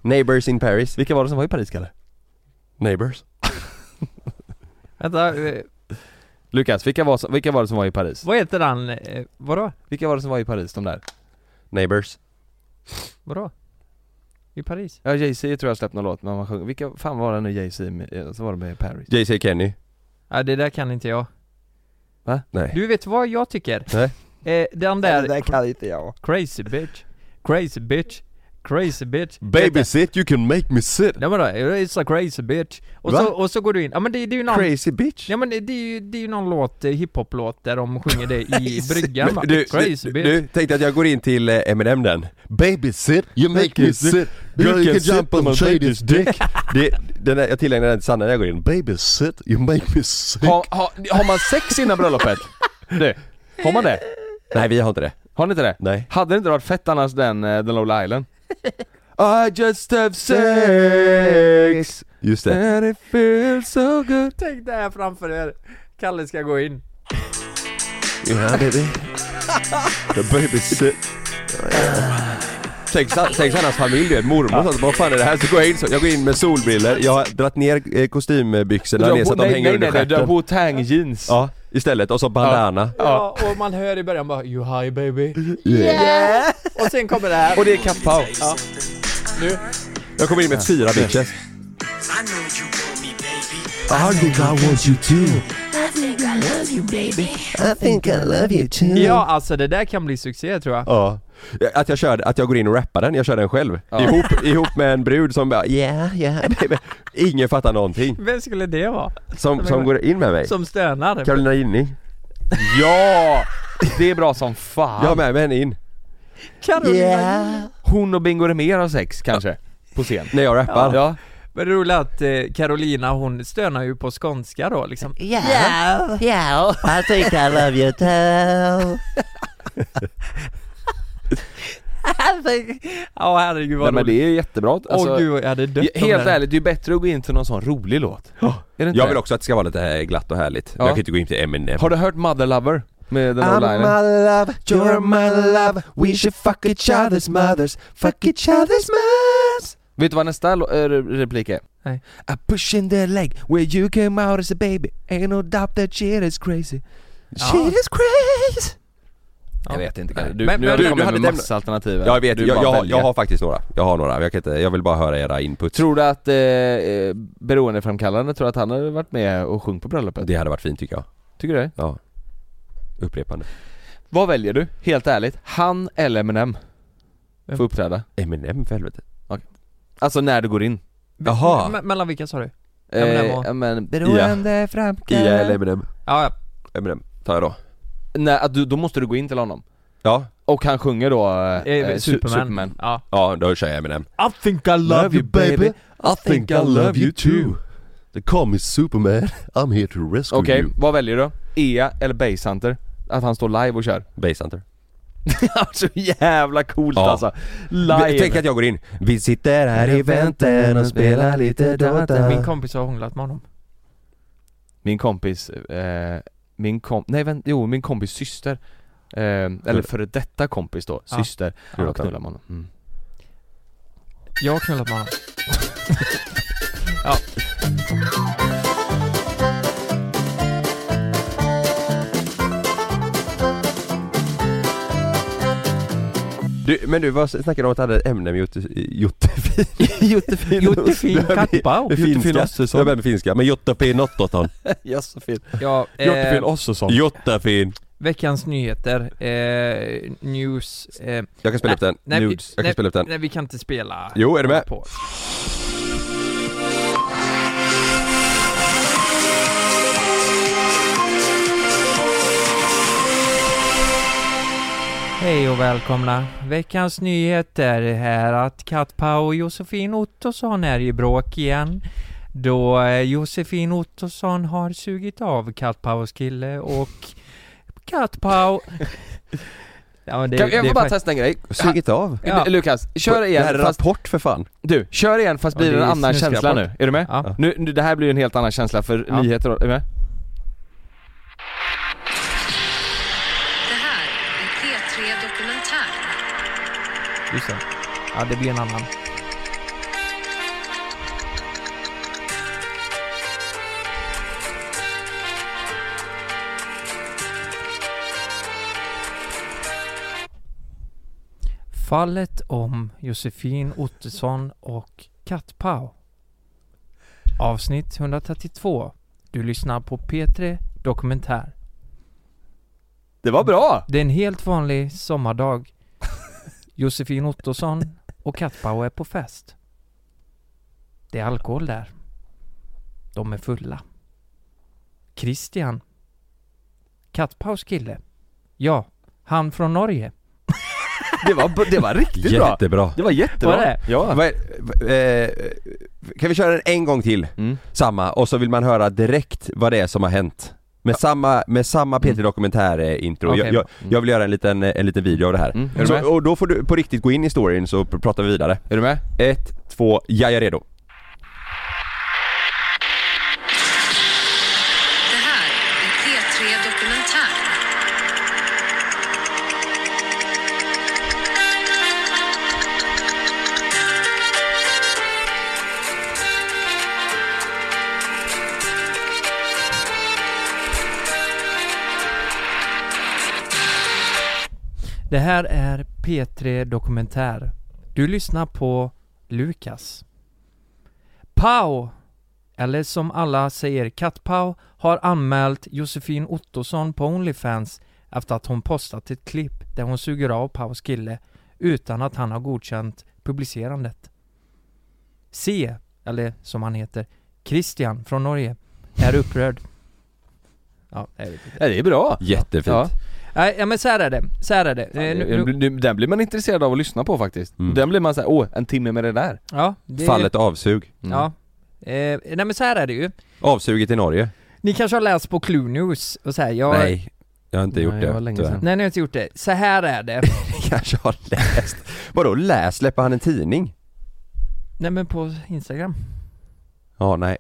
Neighbors in Paris. Vilka var det som var i Paris Kalle? Neighbors. Vänta, eh, Lukas, vilka var, som- vilka var det som var i Paris? vad heter han? eh, Vadå? Vilka var det som var i Paris, de där? Neighbors. Vadå? I Paris? Ja, Jay-Z tror jag släppte någon låt, men man sjunger. Vilka fan var det nu Jay-Z med- eh, som var de i Paris? JC Kenny. Ja, det där kan inte jag. Nej. Du vet vad jag tycker? Nej. Eh, den där, kan inte jag. crazy bitch, crazy bitch, crazy bitch Detta- sit, you can make me sit. Nej men då, it's a crazy bitch och Va? så, och så går du in, ja men det, det är ju någon Crazy bitch. Ja men det det är ju, det är ju någon låt, eh, hiphop-låt där de (laughs) sjunger det i bryggan va? Men du, Crazy du, bitch du, tänkte att jag går in till eh, Eminem den. Baby sit, you make me sit. You can jump on Shady's dick. Det, den där, jag tillägnar den till Sanna när jag går in. Baby sit, you make me sick Har, har, har man sex (laughs) innan bröllopet? Du, har man det? Nej vi har inte det. Har ni inte det? Nej. Hade det inte varit fett annars den, eh, den Lola Island? I just have sex Just det. and it feels so good Tänk det här framför er, Kalle ska gå in Yeah baby. The baby sit. Tänk, San- tänk Sannas familj du vet, mormor och sånt. Vad fan är det här? Så går jag in, så, jag går in med solbriller. jag har dratt ner eh, kostymbyxorna ner så att de nej, hänger nej, under nej, nej, du har stjärten. Wu-Tang jeans Ja, istället. Och så bandana. Ja, och man hör i början bara 'You high baby' yeah. Och sen kommer det här Och det är kappao Jag kommer in med fyra bitches. I know you want me baby I think I want you too I think I love you too I think I love you too Ja alltså det där kan bli succé tror jag Ja. Att jag körde, att jag går in och rappar den, jag kör den själv. Ihop, (laughs) ihop med en brud som bara yeah, (laughs) yeah baby. Ingen fattar någonting. Vem skulle det vara? Som, som går in med mig. Som stönar? Carolina Gynning. Ja! Det är bra som fan Jag har med mig henne in. Carolina Hon och Bingo mer har sex kanske, på scen När jag rappar. Ja, Men det roliga är att eh, Carolina hon stönar ju på skånska då liksom Yeah, yeah. I think I love you too. Ja herregud Nej, vad men roligt det är jättebra alltså, Åh gud jag hade dött om Helt det. ärligt, det är bättre att gå in till någon sån rolig låt är det inte Jag det? vill också att det ska vara lite eh, glatt och härligt. Ja. Jag kan inte gå in till Eminem. Har du hört Mother Lover? Med den I'm online my love, you're my love We should fuck each other's mothers Fuck each other's mothers Vet du vad nästa lo- eh, re- replik är? Nej. I push in the leg where you came out as a baby Ain't no doubt that shit is crazy Ja. Shit is crazy Jag vet inte Kalle, Nej. du, Men- nu men har du du- kommit du hade med den- massa alternativ här. Jag vet, Du jag, jag, bara har- väljer. jag har faktiskt några. Jag har några, jag, kan inte, jag vill bara höra era input. Tror du att eh, eh, beroendeframkallande, tror du att han har varit med och sjungit på bröllopet? Det hade varit fint tycker jag. Tycker du det? Ja. Upprepande. Vad väljer du, helt ärligt? Han eller Eminem? Vem? Får uppträda? Eminem för helvete. Alltså när du går in Jaha. Me- Mellan vilka sa du? Eminem Eh, och- ja, men beroendeframkallande Ia eller Eminem? Ja, ja. Eminem tar jag då. Nej, att du, då måste du gå in till honom Ja, Och han sjunger då eh, Eh, eh, Su- Superman. Superman. Ja. ja då kör jag Eminem. I think I Love you baby, I think I love you too They call me Superman, I'm here to rescue Okej, you vad väljer du? Ea eller Basehunter? Att han står live och kör? (laughs) Basehunter. så jävla coolt Ja. alltså! Live! Tänk att jag går in. Vi sitter här i väntan och spelar lite data. Min kompis har hånglat med honom. Min kompis, eh, min kom, nej vänt, jo min kompis syster eh, Eller före detta kompis då, Ja. syster, Kul då att han- knullar man mm. Jag har knullat med honom. Du, men du, vad snackade du om att du hade ett ämne med Jotte- (laughs) Jottefin? Jottefin Jottefin Kattbau. Med Jottefin finska? Ottosson. Jag börjar med finska, men Jottefin (laughs) Ottosson. Ja, så fint Ja, Jottefin eh, Ossosson Jottefin. veckans nyheter, eh, news, eh, Jag kan spela upp den. nej, vi- Nudes. Jag kan nej, spela upp den. nej vi kan inte spela Jo, är du med? på. Hej och välkomna! Veckans nyheter är att Katpa och Josefin Ottosson är i bråk igen. Då eh, Josefin Ottosson har sugit av Kattpaus kille och Kattpau... Ja, men det- kan, Jag det är får bara fakt- testa en grej Sugit av. Ja. Lukas, kör Det här igen är fast, rapport för fan. du, kör igen fast Ja, blir det det en är annan känsla nu, snuskarapport. är du med? Ja. Nu, nu, det här blir ju en helt annan känsla för Ja. nyheter, är du med? Det här är P3 Dokumentär. Just det. Ja, det blir en annan. Fallet om Josefin Ottosson och Kattpau. Avsnitt 132. Du lyssnar på P3 Dokumentär. Det var bra! Det är en helt vanlig sommardag. Josefin Ottosson och Kattbauer är på fest. Det är alkohol där. De är fulla. Christian. Kattpaus kille. Ja, han från Norge. Det var, det var riktigt bra! Jättebra. Det var jättebra! Var det? Ja! Vad är, v- eh, kan vi köra den en gång till? Mm. Samma, och så vill man höra direkt vad det är som har hänt. Med samma, med samma Mm. P3 Dokumentär-intro. Okej. Jag, jag, jag vill göra en liten, eh, en liten video av det här. Mm. Är du med? Så, och då får du på riktigt gå in i storyn så pr- pratar vi vidare. Är du med? Ett, två, jag är redo. Det här är P3 Dokumentär. Det här är P3 Dokumentär. Du lyssnar på Lukas. Pau, eller som alla säger Katt-Pau, har anmält Josefin Ottosson på Onlyfans efter att hon postat ett klipp där hon suger av Paus kille utan att han har godkänt publicerandet. C, eller som han heter, Christian från Norge, är upprörd. Ja, jag vet inte. Ja, det är bra! Jättefint. Ja. Nej, ja, men så här är det. Så här är det. Eh, nu- nu- Den- Den blir man intresserad av att lyssna på faktiskt. Mm. Den blir man såhär, åh, en timme med det där. Ja, det, Fallet avsug. Mm. Ja. Eh, nej men så här är det ju. Avsuget i Norge. Ni kanske har läst på Clue News och så här, jag... Nej, jag har inte Nej, gjort det. det var länge tyvärr. (laughs) sedan. Nej ni har inte gjort det. Så här (laughs) är det. Kanske har läst. Vadå läst? Släpper han en tidning? nej men på Instagram. Ja, nej.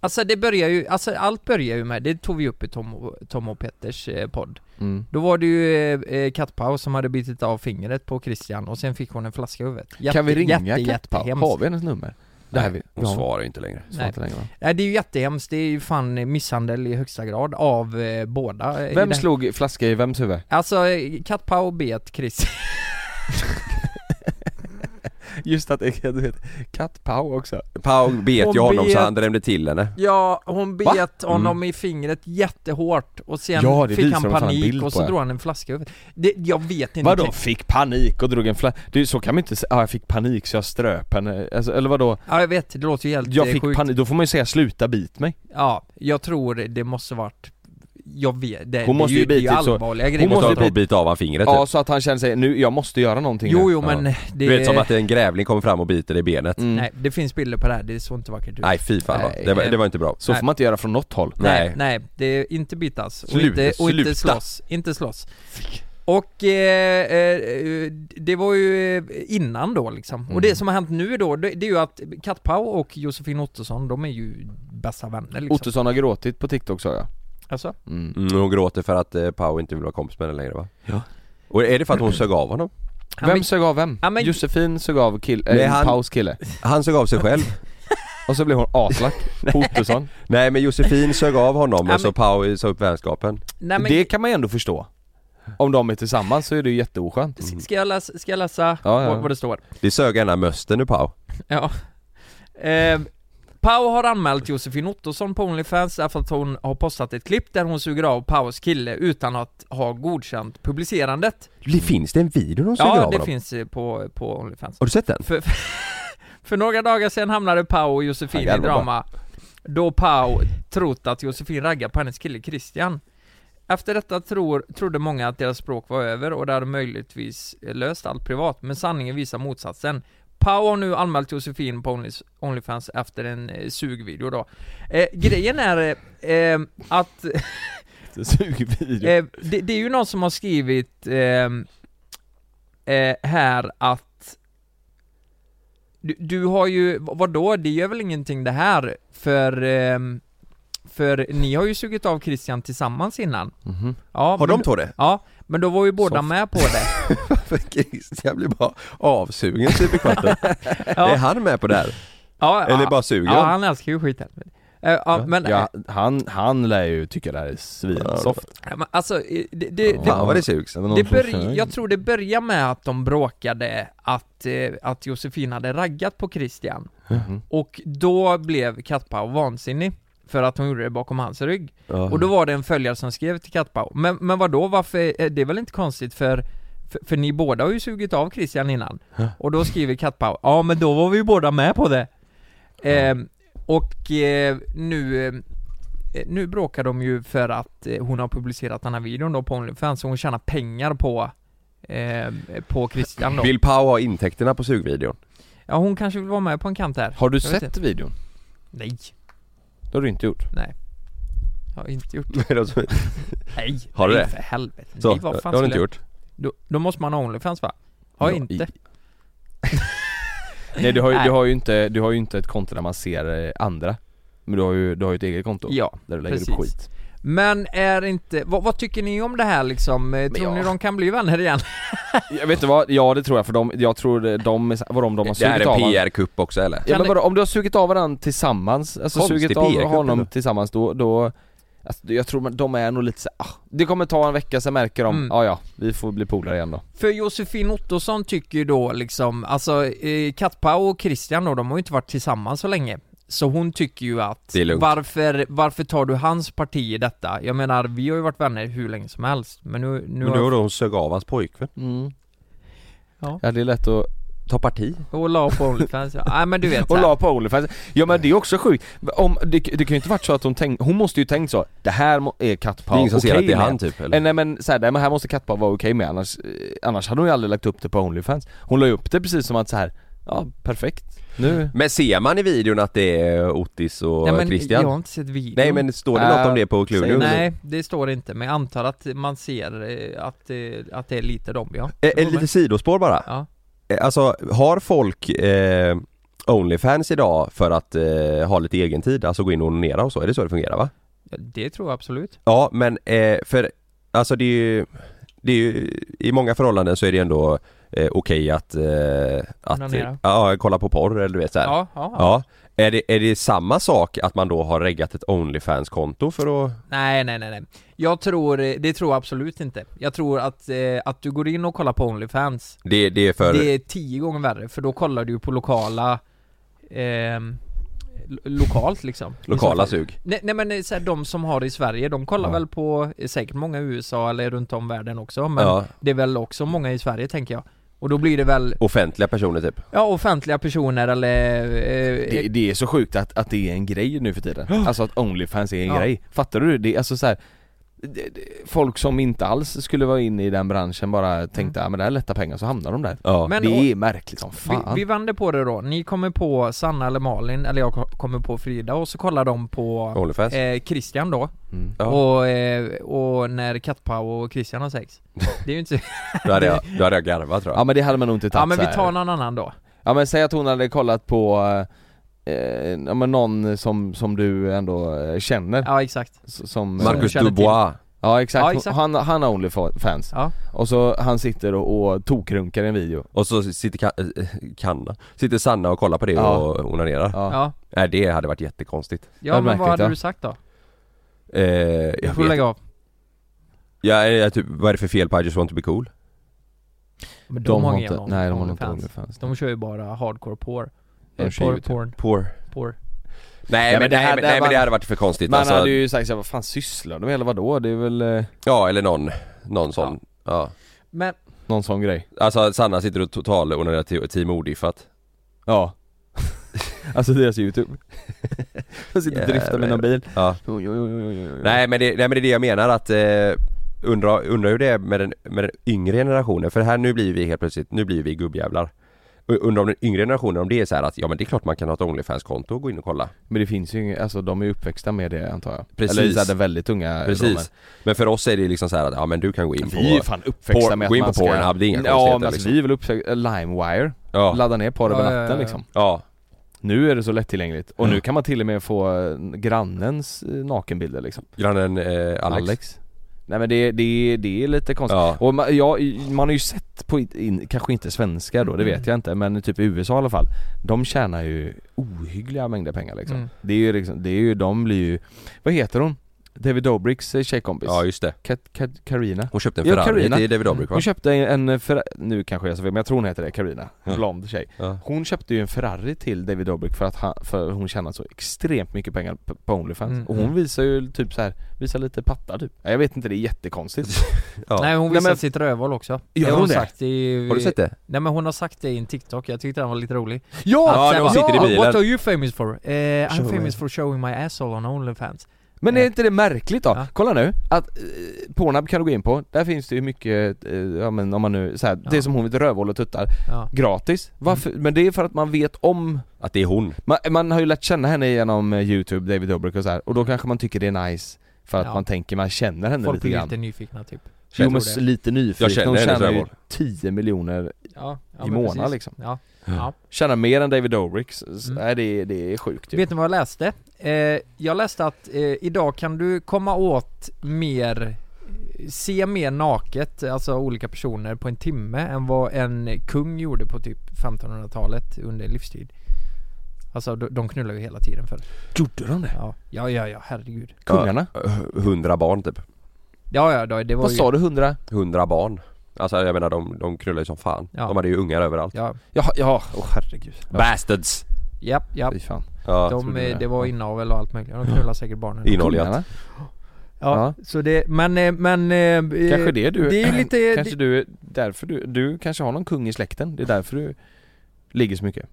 Alltså det börjar ju, alltså allt börjar ju med, det tog vi upp i Tom och, Tom och Petters eh, podd. Mm. Då var det ju eh, eh, Kattpaus som hade bitit av fingret på Christian och sen fick hon en flaska i huvudet. Jätte- kan vi ringa jätte- Kattpaus? jättehemskt. Har vi hennes nummer? Det här vi, Nej, vi Hon har- svarar ju inte längre. svarar inte längre va? Nej det är ju jättehemskt, det är ju fan misshandel i högsta grad av eh, båda. eh, i Vem det- slog flaska i vems huvud? Alltså eh, Kattpau bet Chris. Just att det du vet, Kattpau också. Pau bet Hon ju honom bet. så han drämde till henne. Ja, hon bet Va? Mm. honom i fingret jättehårt och sen Ja, det fick visar han de fan en panik bild och på, så ja. drog han en flaska över. Det, jag vet inte. Vadå fick panik och drog en flaska? Du så kan man inte säga, ah, jag fick panik så jag ströp henne, alltså, eller vadå? Ja, jag vet. Det låter ju helt Jag eh, fick sjukt. panik, då får man ju säga sluta bit mig. Ja, jag tror det måste varit jag vet, det, Hon måste det, ju är det är ju bitit så- allvarliga grejer. Hon måste måste ha på bli- att bita av han fingret Ja, typ. så att han känner sig, nu, jag måste göra någonting Jo, nu. jo men det... Du vet som att en grävling kommer fram och biter dig i benet. Mm. Nej, det finns bilder på det här, det såg inte vackert ut. Nej fy fan vad- Nej, det, var, eh, det var inte bra. Så får man inte göra från något håll. Nej, Nej. nej, det är inte bitas och Sluta, inte, och inte sluta. slåss, inte slåss Och eh, eh, det var ju eh, innan då liksom, och Mm. det som har hänt nu då, det, det är ju att Kat Pau och Josefin Ottosson, de är ju bästa vänner liksom Ottosson har gråtit på TikTok sa jag. Alltså? Mm. Mm, hon gråter för att eh, Pau inte vill vara kompis med henne längre va? Ja. Och är det för att hon sög av honom? Ja, Vem men- sög av vem? Ja, men- Josefin sög av kill, Nej, äh, han- Paus kille. Han sög av sig (laughs) själv. Och så blev hon (laughs) aslack på Ottosson. Nej men Josefin sög av honom Ja, och så men- Pau sa upp vänskapen. Nej men, Det kan man ju ändå förstå. Om de är tillsammans så är det ju jätteoskönt. s- ska jag läsa, ska jag läsa Ja, ja. Vad, vad det står? Det sög ena mösten ur Pau. Ja eh, Pau har anmält Josefin Ottosson på Onlyfans därför att hon har postat ett klipp där hon suger av Paus kille utan att ha godkänt publicerandet Det finns det en video de sög av Mm. Ja, honom? det finns eh, på, på Onlyfans. Har du sett den? För, för några dagar sedan hamnade Pau och Josefin i jävlar, drama, då Pau trott att Josefin raggar på hennes kille Christian. Efter detta tror, trodde många att deras språk var över och det hade möjligtvis eh, löst allt privat, men sanningen visar motsatsen. Pau har nu anmält Josefin på Onlys- Onlyfans efter en eh, sugvideo då. Eh, grejen är eh, eh, att (laughs) Sugvideo. Eh, det, det är ju någon som har skrivit ehm, eh, här att du, du har ju, vad- vadå, det gör väl ingenting det här, för, ehm, för ni har ju sugit av Christian tillsammans innan. Mhm. Ja, Har men, de två det? Ja, men då var ju båda Soft. med på det. (laughs) För Christian blir bara avsugen typ i kvarten. Är (laughs) Ja, han med på det här? ja, Eller ja, bara sugen? ja, han älskar ju skiten. Eh, ja, men, Ja, han, han lär ju tycka det här är svinsoft. eh, men alltså, eh, det, det, det, Fan vad det sugs. Någon Det som bör, säger- jag tror det börjar med att de bråkade att, eh, att Josefin hade raggat på Christian Mhm. Och då blev Kattpau vansinnig För att hon gjorde det bakom hans rygg Och då var det en följare som skrev till Kattpau Men, men vadå, varför, eh, det är väl inte konstigt för för, för ni båda har ju sugit av Christian innan Och då skriver Kattpau Ja men då var vi ju båda med på det Ehm, Och eh, nu eh, Eh, Nu bråkar de ju för att eh, hon har publicerat den här videon då på Onlyfans och hon tjänar pengar på eh, på Christian då. Vill Pau ha intäkterna på sugvideon? (laughs) Ja hon kanske vill vara med på en kant här. Har du Jag vet sett videon? Nej, Det har du inte gjort. jag har inte gjort. Nej, Har du nej, det? för helvete. Så, nej, vad det fan har du skulle inte jag- gjort. Då, då måste man ha Onlyfans va? Har jag Ja, inte. Nej du har, ju, Nej. du har ju inte, du har ju inte ett konto där man ser eh, andra. Men du har ju, du har ju ett eget konto. Ja. Där du lägger precis. upp skit. Men är inte, vad, vad tycker ni om det här liksom? Eh, Tror ja. ni de kan bli vänner igen? (laughs) Jag vet inte vad, ja det tror jag för de, jag tror eh, de, är så- vadå om de har Det här sugit är en av varandra. PR-kupp också eller? Ja, Kan men det- vadå, om du har sugit av varandra tillsammans, alltså Konstig sugit av PR-kupp, honom eller? tillsammans då, då alltså, jag tror man- de är nog lite så, ah, det kommer ta en vecka sen märker de, Mm. ja ja, vi får bli polare igen då. För Josefin Ottosson tycker ju då liksom, alltså eh, Katpau och Christian då, de har ju inte varit tillsammans så länge. Så hon tycker ju att, Det är lugnt. varför, varför tar du hans parti i detta? Jag menar, vi har ju varit vänner hur länge som helst, men nu, nu Men nu har har hon sög av hans pojkvän. Ja. Ja. det är lätt att Ta parti. och la på Onlyfans, ja. nej men (laughs) du vet Och så här. la på Onlyfans. Ja men det är också sjukt. Om, det, det kan ju inte varit så att hon tänkt, hon måste ju tänkt så, det här må- är Det är kattpav ingen som ser okej att det är med. han typ eller? Eh, Nej men så här, nej, men här måste kattpav vara okej med annars, eh, annars hade hon ju aldrig lagt upp det på Onlyfans. Hon la ju upp det precis som att så här, ja perfekt. Nu, Men ser man i videon att det är Otis och Nej, men Christian? Jag har inte sett videon. Nej men står det något Äh, om det på säg Clueless? Nej, det står det inte, men jag antar att man ser eh, att, eh, att det är lite dem ja. Eh, eh, lite sidospår bara. Ja. Eh, Alltså har folk eh, Onlyfans idag för att eh, ha lite egen tid, alltså gå in och onanera och så? Är det så det fungerar va? Ja, Det tror jag absolut. Ja men eh, för alltså det är ju, det är ju i många förhållanden så är det ändå eh, okej att, eh, att Onanera. ja, kolla på porr eller du vet så här. Ja, ja, ja. Ja. Är det, är det samma sak att man då har reggat ett Onlyfans-konto för att... Nej, nej, nej, nej. Jag tror, eh, det tror jag absolut inte. Jag tror att, eh, att du går in och kollar på Onlyfans, Det, det är för... det är tio gånger värre, för då kollar du ju på lokala, ehm, lo- lokalt liksom. I så Lokala fall. sug. Nej, nej men eh, så här, de som har det i Sverige, de kollar Ja. väl på eh, säkert många i USA eller runt om världen också, men Ja, det är väl också många i Sverige tänker jag. Och då blir det väl, offentliga personer typ. ja offentliga personer eller... eh, det, det är så sjukt att, att det är en grej nu för tiden. Alltså att Onlyfans är en Ja. grej. Fattar du? Det är alltså så här. det- det- folk som inte alls skulle vara inne i den branschen bara tänkte ja men det här är lätta pengar så hamnar de där. Ja. Men- det är märkligt som fan. Vi, vi vänder på det då, ni kommer på Sanna eller Malin, eller jag ko- kommer på Frida och så kollar de på Onlyfans. eh, Christian då, Mm. Ja. och, eh, och när Kattpau och Christian har sex Det är (laughs) ju inte Då hade jag, då hade jag garvat tror jag. Ja men det hade man nog inte tagit Ja men vi så här. tar någon annan då Ja men säg att hon hade kollat på eh, eh, ja, men någon som, som du ändå eh, känner Ja exakt s- som... Marcus Marcus känner till. Dubois. Ja exakt, Ja, exakt. Han, han har Onlyfans Ja. Och så han sitter och, och tokrunkar en video Och så sitter Ka- eh, Kanna, sitter Sanna och kollar på det Ja. och onanerar. Ja. Ja, Nej det hade varit jättekonstigt. ja Vad men vad märkligt, hade ja. du sagt då? Eh, Du jag får vet lägga av jag, jag, typ, vad är det för fel på I just want to be cool? Men de, De har ingen inte, Only- nej de har inte OnlyFans. Onlyfans De kör ju bara hardcore porr De Eh, kör Porr, ju- typ- porn, Poor. porr Nej men, det, här, nej, men man- det hade varit för konstigt Man alltså, hade ju sagt såhär, vad fan sysslar de med eller vadå? Det är väl eh, Ja eller någon, någon sån. Ja. Men, någon sån grej Alltså Sanna sitter och total onanerar till Team Odiffat. Ja (laughs) Alltså deras youtube (laughs) Jag sitter och Jävlar. driftar med någon bil Ja. Oj, oj, oj, oj, oj. Nej men det, nej men det är det jag menar att eh, undra, undra hur det är med den, med den yngre generationen för här nu blir vi helt plötsligt, nu blir vi gubbjävlar. U- Undrar om den yngre generationen om det är så här att ja men det är klart man kan ha ett Onlyfans-konto och gå in och kolla. Men det finns ju inget, alltså de är ju uppväxta med det antar jag Precis. Eller så hade väldigt unga Precis. Men för oss är det liksom så här att ja men du kan gå in på... Vi är ju fan uppväxta Por- med att gå in på man ska... Pornhub, det är inga Ja konstigheter, men alltså, liksom. vi är väl uppväxta, LimeWire, Ja, ladda ner porr över Ja, ja, ja, natten ja. liksom ja, Nu är det så lättillgängligt och nu kan man till och med få eh, grannens eh, nakenbilder liksom grannen eh, Alex. Nej men det, det, det är lite konstigt Ja. Och man, ja, man har ju sett på, in, kanske inte svenskar då, det Mm. vet jag inte, men typ i USA i alla fall De tjänar ju ohyggliga mängder pengar liksom Mm. Det är ju liksom, det är ju, de blir ju Vad heter hon? David Dobricks eh, tjejkompis? Ja just det. Kat, Kat, Karina Hon köpte en Ja, Ferrari Carina. till David Dobrik va? Hon köpte en, en Ferrari, nu kanske jag sa fel men jag tror hon heter det, Carina, en Ja. blond tjej Ja. Hon köpte ju en Ferrari till David Dobrik för att han, för hon tjänat så extremt mycket pengar p- på Onlyfans Mm. Och hon visar ju typ så här, visar lite patta typ Nej, Jag vet inte, det är (laughs) jättekonstigt Ja. Nej hon Nej, visar men- sitt rövhål också Gör Det hon det? sagt i, Har du sett det? Nej men hon har sagt det i en TikTok, jag tyckte den var lite rolig Ja, när hon sitter i bilen. "Ah, What are you famous for? Eh, I'm Show famous for showing my asshole on Onlyfans Men är inte det märkligt då? Ja. Kolla nu, att eh, Pornhub kan du gå in på, där finns det ju mycket, eh, ja men om man nu, så här, Ja. Mm. det som hon vet rövhål och tuttar, Ja, gratis. Varför? Men det är för att man vet om, Att det är hon. man, man har ju lärt känna henne genom eh, youtube, David Dobrik och så här, och då kanske man tycker det är nice för att Ja. man tänker, man känner henne folk lite blir grann. lite nyfikna typ Jo men tror det. lite Jag nyfiken, känner hon henne, tjänar ju Trevor. 10 miljoner, ja, ja, I men månaden, liksom. Ja, ja. tjänar mer än David Dobrik, så, så- Mm. nej det, det är sjukt ju. Vet ni vad jag läste? Eh, jag läste att eh, idag kan du komma åt mer Se mer naket, alltså olika personer på en timme än vad en kung gjorde på typ 1500-talet under livstid Alltså de, de knullar ju hela tiden för Gjorde de det? Ja, ja, ja, ja herregud Kungarna? Hundra barn typ. Ja, ja, då, det var Vad ju sa du, 100? Hundra barn. Alltså jag menar de, de krullar ju som fan. Ja. De hade ju ungar överallt. Ja, Ja, ja, åh herregud. Ja, Bastards! ja, ja. fy fan. Ja. De, trodde eh, det. det var inavel och allt möjligt, de knullar säkert barnen Inoljat. Kungarna? Ja, så det, men, eh, men... eh, Kanske det du, Det (clears throat) är ju lite... kanske du, därför du, du kanske har någon kung i släkten, det är därför du ligger så mycket.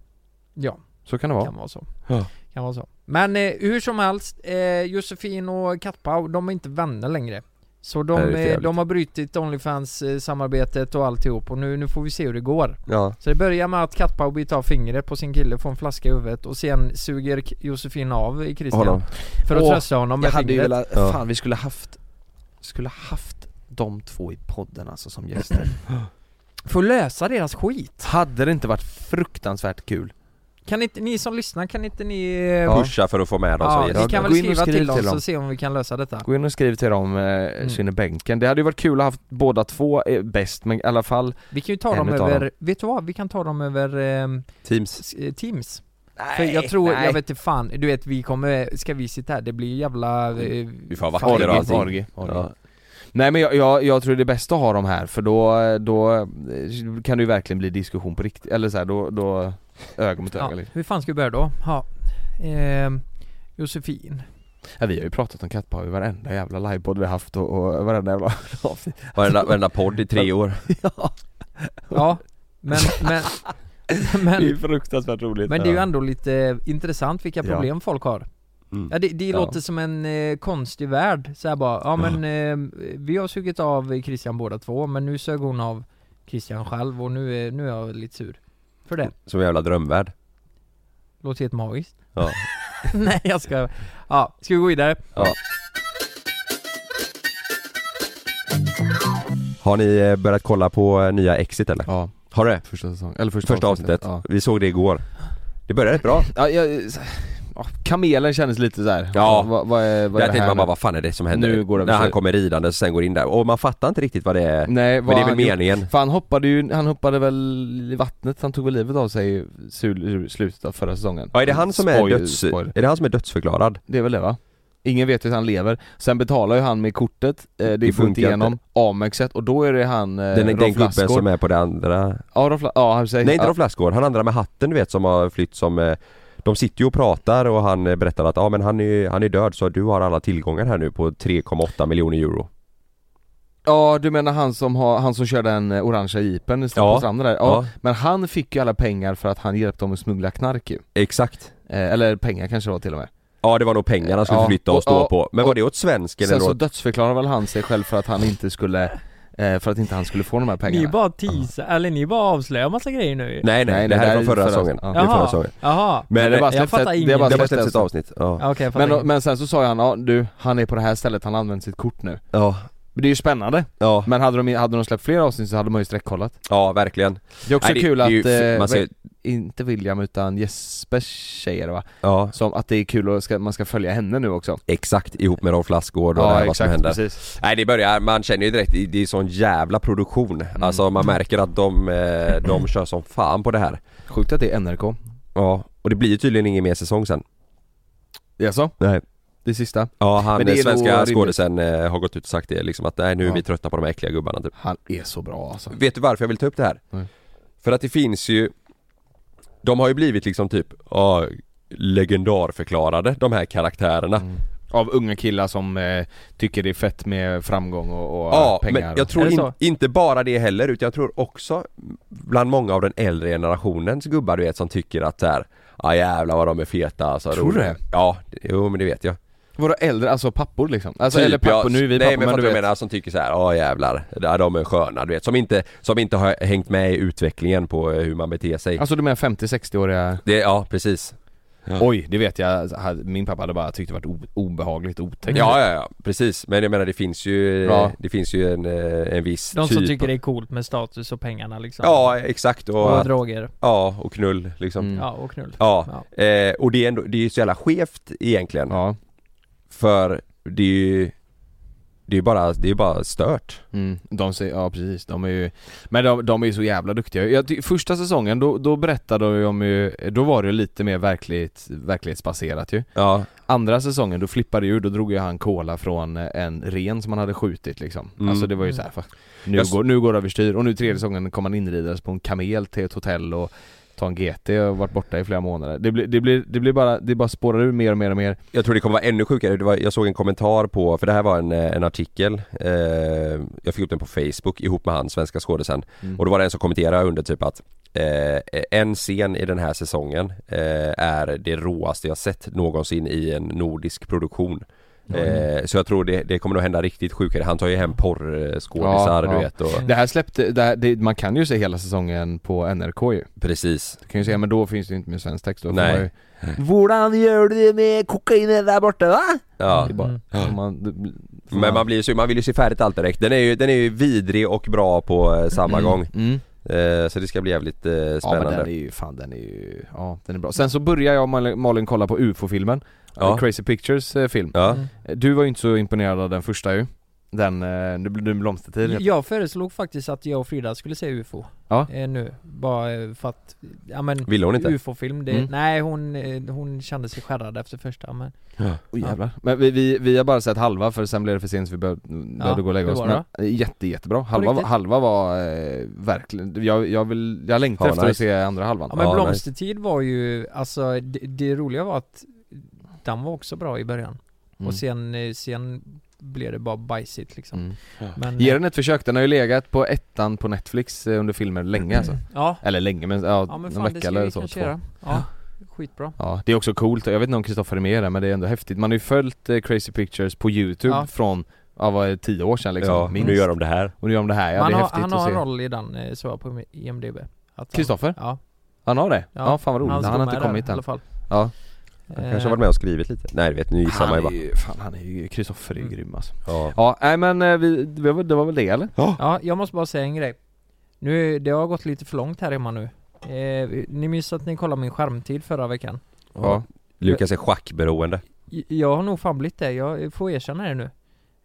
Ja, Så kan det vara. kan vara så. Ja. Kan vara så. Men eh, hur som helst, eh, Josefin och Kattpau, de är inte vänner längre. Så de, Nej, det är för eh, jävligt. de har brutit Onlyfans-samarbetet och alltihop och nu, nu får vi se hur det går. Ja. Så det börjar med att Kattpau biter av fingret på sin kille, får en flaska i huvudet och sen suger K- Josefin av i Christian Honom. för att Åh, trösta honom med jag hade ju fingret. velat, Ja. fan vi skulle haft, skulle haft de två i podden alltså (clears throat) som gäster. För att lösa deras skit. hade det inte varit fruktansvärt kul? Kan inte, ni som lyssnar, kan inte ni... eh, Pusha för att få med dem som Ja, gäst. ni kan väl Gå in och skriva skriv till dem till så dem. se om vi kan lösa detta. Gå in och skriv till dem, Mm. eh, Kinnebänken. Det hade ju varit kul att ha haft båda två eh, bäst, men i alla fall Vi kan ju ta En dem utav över, vet du vad? Vi kan ta dem över ehm, Teams. s- eh, Teams. För jag tror, nej. jag vet inte fan, du vet vi kommer, ska vi sitta här? Det blir ju jävla... Eh, Vi får ha fan, vakter och det blir- allting. Orgi. Orgi. Ja. Nej men jag, jag, jag tror det är bäst att ha dem här för då, då eh, kan det ju verkligen bli diskussion på riktigt, eller så här, då, då öga mot öga Ja, liksom. hur fan ska vi börja då? Ja. Ehm, Josefin. ja, Vi har ju pratat om kattpaar i varenda jävla livepodd vi har haft och, och varenda jävla (laughs) avsnitt Varenda, varenda podd i tre år. Ja, men, men, (laughs) men, fruktansvärt roligt men det är ju ändå lite eh, intressant vilka Ja. problem folk har. Mm. Ja, det, det Ja. låter som en eh, konstig värld, så här bara, ja men eh, vi har sugit av Christian båda två, men nu sög hon av Christian själv och nu är, nu är jag lite sur för det. Som en jävla drömvärld. Låter helt magiskt. Ja. (laughs) Nej jag ska Ja, ska vi gå vidare? Har ni eh, börjat kolla på eh, nya Exit eller? Ja, Har du det? första säsongen. Eller första, Första avsnittet. Vi såg det igår. Det började rätt bra. Ja. Ja, jag, ja, kamelen kändes lite såhär. Ja. Vad, vad är, vad är jag det tänkte här man bara, nu? vad fan är det som händer? Nu går det Mm, När han precis. kommer ridande och sen går in där. Och man fattar inte riktigt vad det är. Nej, men det är väl han gjort? meningen. För han hoppade ju, han hoppade väl i vattnet, han tog väl livet av sig i sul- ur slutet av förra säsongen Ja, är det han som är, Spoil- döds... spoil. är det han som är dödsförklarad? Det är väl det va? Ingen vet hur han lever, sen betalar ju han med kortet, eh, det, Det går inte funkar igenom, inte. Amexet och då är det han eh, Den, den Rolf gubben Lassgård som är på det andra... Ja, Rolf, La- ja han säger Nej inte ja, Rolf Lassgård, han andra med hatten du vet som har flytt som eh, De sitter ju och pratar och han eh, berättar att ja ah, men han är, han är död så du har alla tillgångar här nu på 3,8 miljoner euro ja, du menar han som, har, han som kör den eh, orangea jeepen i ja. Ja. på stranden där? Ja. Ja, Men han fick ju alla pengar för att han hjälpte dem att smuggla knark ju exakt eh, Eller pengar kanske det var till och med Ja det var nog pengarna han skulle Ja, flytta och, och- stå och- på Men och- var det åt svensken Sen eller så åt... dödsförklarar väl han sig själv för att han inte skulle eh, för att inte han skulle få de här Ni pengarna bara teasar, eller ni bara avslöjar massa grejer nu ju. Nej nej, Nej, det nej, här är det från här är förra förra- säsongen ja. Det är förra Jaha, säsongen jaha. Men, Men det det är bara Jag släppt fattar ett- det ingenting. är bara har bara släppt släppts ett ett avsnitt. avsnitt ja. Ja, Okej, jag fattar Men, men, men sen så sa ju han, ja du, han är på det här stället, han använder sitt kort nu ja, Men det är ju spännande, ja, men hade de, hade de släppt fler avsnitt så hade man ju streckkollat ja verkligen Det är också Nej, kul det är ju- att, eh, man ser, inte William utan Jespers tjejer va? Ja Som att det är kul att ska, man ska följa henne nu också exakt ihop med Rolf Lassgård och det här, vad som händer precis Nej det börjar, man känner ju direkt, det det är sån jävla produktion. Mm. Alltså man märker att de, eh, de kör som fan på det här. Sjukt att det är NRK Ja, och det blir ju tydligen ingen mer säsong sen. Jaså? Nej. Det sista? Ja, han Men det är eh, nog svenska rimligt. skådisen eh, har gått ut och sagt det liksom att nej nu är Ja. vi trötta på de här äckliga gubbarna typ. Han är så bra alltså Vet du varför jag vill ta upp det här? Nej. För att det finns ju De har ju blivit liksom typ, ja, legendarförklarade de här karaktärerna. Mm. Av unga killar som eh, tycker det är fett med framgång och, och Ja, pengar men och- jag tror Är det in, så? inte bara det heller utan jag tror också bland många av den äldre generationens gubbar du vet som tycker att så här, ja jävlar vad de är feta alltså. Tror du roligt." det? Ja, det- jo men det vet jag. Våra äldre, alltså pappor liksom? Alltså, Typ, eller pappor, ja, nu är vi Nej pappor men, men fattar du du vad jag vet menar som tycker så här, ja jävlar, ja, de är sköna du vet. Som inte, som inte har hängt med i utvecklingen på eh, hur man beter sig. Alltså du menar 50-60-åriga? Det, ja precis. Oj, det vet jag, hade- min pappa hade bara tyckt det varit o- obehagligt otäckt Ja, ja, ja, precis. Men jag menar det finns ju, Ja. det finns ju en, eh, en viss De typ. som tycker det är coolt med status och pengarna liksom. Ja, exakt. Och, Och att- droger. ja, och knull liksom. Mm. Ja, och knull. Ja, Eh, och det är, ändå, det är ju så jävla skevt egentligen. Ja, För det är ju Det är ju bara, det är ju bara stört mm. de säger, ja precis, de är ju Men de, de är ju så jävla duktiga jag, ty- Första säsongen, då, då berättade de ju, då var det lite mer verkligt, verklighetsbaserat ju Ja, Andra säsongen, då flippade ju, då drog ju han kola från eh, en ren som han hade skjutit liksom Mm. Alltså det var ju såhär, va, nu, Jag s- går, nu går det överstyr och nu tredje säsongen kom han inridandes på en kamel till ett hotell och ta en GT och varit borta i flera månader Det blir, det blir, det blir bara, det bara spårar ur mer och mer och mer jag tror det kommer vara ännu sjukare, det var, jag såg en kommentar på, för det här var en, eh, en artikel eh, Jag fick upp den på Facebook ihop med han, svenska skådisen Mm. Och då var det en som kommenterade under typ att eh, En scen i den här säsongen eh, är det råaste jag sett någonsin i en nordisk produktion eh, Så jag tror det, det kommer nog hända riktigt sjukare, han tar ju hem porrskådisar Ja, du ja. vet och Det här släppte, det här, det, man kan ju se hela säsongen på NRK ju Precis Du kan ju säga, men då finns det ju inte med svensk text då får Nej. man ju, Hvordan gjør du det med kokainet der borte, da? Ja, det är bara, Mm. får man, det, får Men man, blir ju, så- man vill ju se färdigt allt direkt. Den är ju, den är ju vidrig och bra på eh, samma gång. mm. Eh, så det ska bli jävligt eh, Ja men spännande. den är ju, fan den är ju, ja den är bra Sen så börjar jag och Malin- Malin kolla på UFO-filmen Ja. Crazy Pictures eh, film Ja. Mm. Du var ju inte så imponerad av den första ju Den, eh, Nu blir det blomstertid heter Jag föreslog faktiskt att jag och Frida skulle se UFO Ja. eh, nu, bara eh, för att, ja men Vill hon inte? UFO-film, det, Mm. nej hon, eh, hon kände sig skärrad efter första men Oj, jävlar. Men vi, vi, vi har bara sett halva för sen blev det för sent så vi behövde, behövde gå och lägga hur oss var men, eh, Jätte jättebra, halva, riktigt? halva var eh, verkligen, jag, jag, vill, jag längtar Ja, efter att nice. se andra halvan Ja men Ja, Blomstertid var ju, alltså det, det roliga var att den var också bra i början Mm. och sen, eh, sen blev det bara bajsigt liksom Mm. men, Ge den ett försök, den har ju legat på ettan på Netflix eh, under filmer länge alltså Ja, Eller länge men, ja, ja men en fan det vecka ska vi eller så, kanske två göra ja. skitbra. Ja, det är också coolt, jag vet inte om Kristoffer är med där men det är ändå häftigt. Man har ju följt eh, Crazy Pictures på youtube Ja. från, ja vad är det, tio år sedan liksom, ja, minst. nu gör de det här. Och nu gör de det här, ja Men det är han, har, häftigt han har en att se. roll i den, eh, såg jag på IMDB. Att han- Kristoffer? Ja. Han har det? Ja, Ja, fan vad roligt, ska han vara har inte med där kommit i alla än. fall. Eh, Ja. Han kanske har varit med och skrivit lite. Nej du vet, nu gissar man ju Han är bara. ju, fan han är ju, Kristoffer är ju Mm. grym alltså. Ja. Ja, nej men eh, vi, det var, det var väl det eller? Ja, jag måste bara säga en grej. Nu, det har gått lite för långt här hemma nu. Eh, ni minns att ni kollade min skärmtid förra veckan? Ja. Lukas är schackberoende. J- Jag har nog fan blivit det, jag får erkänna det nu.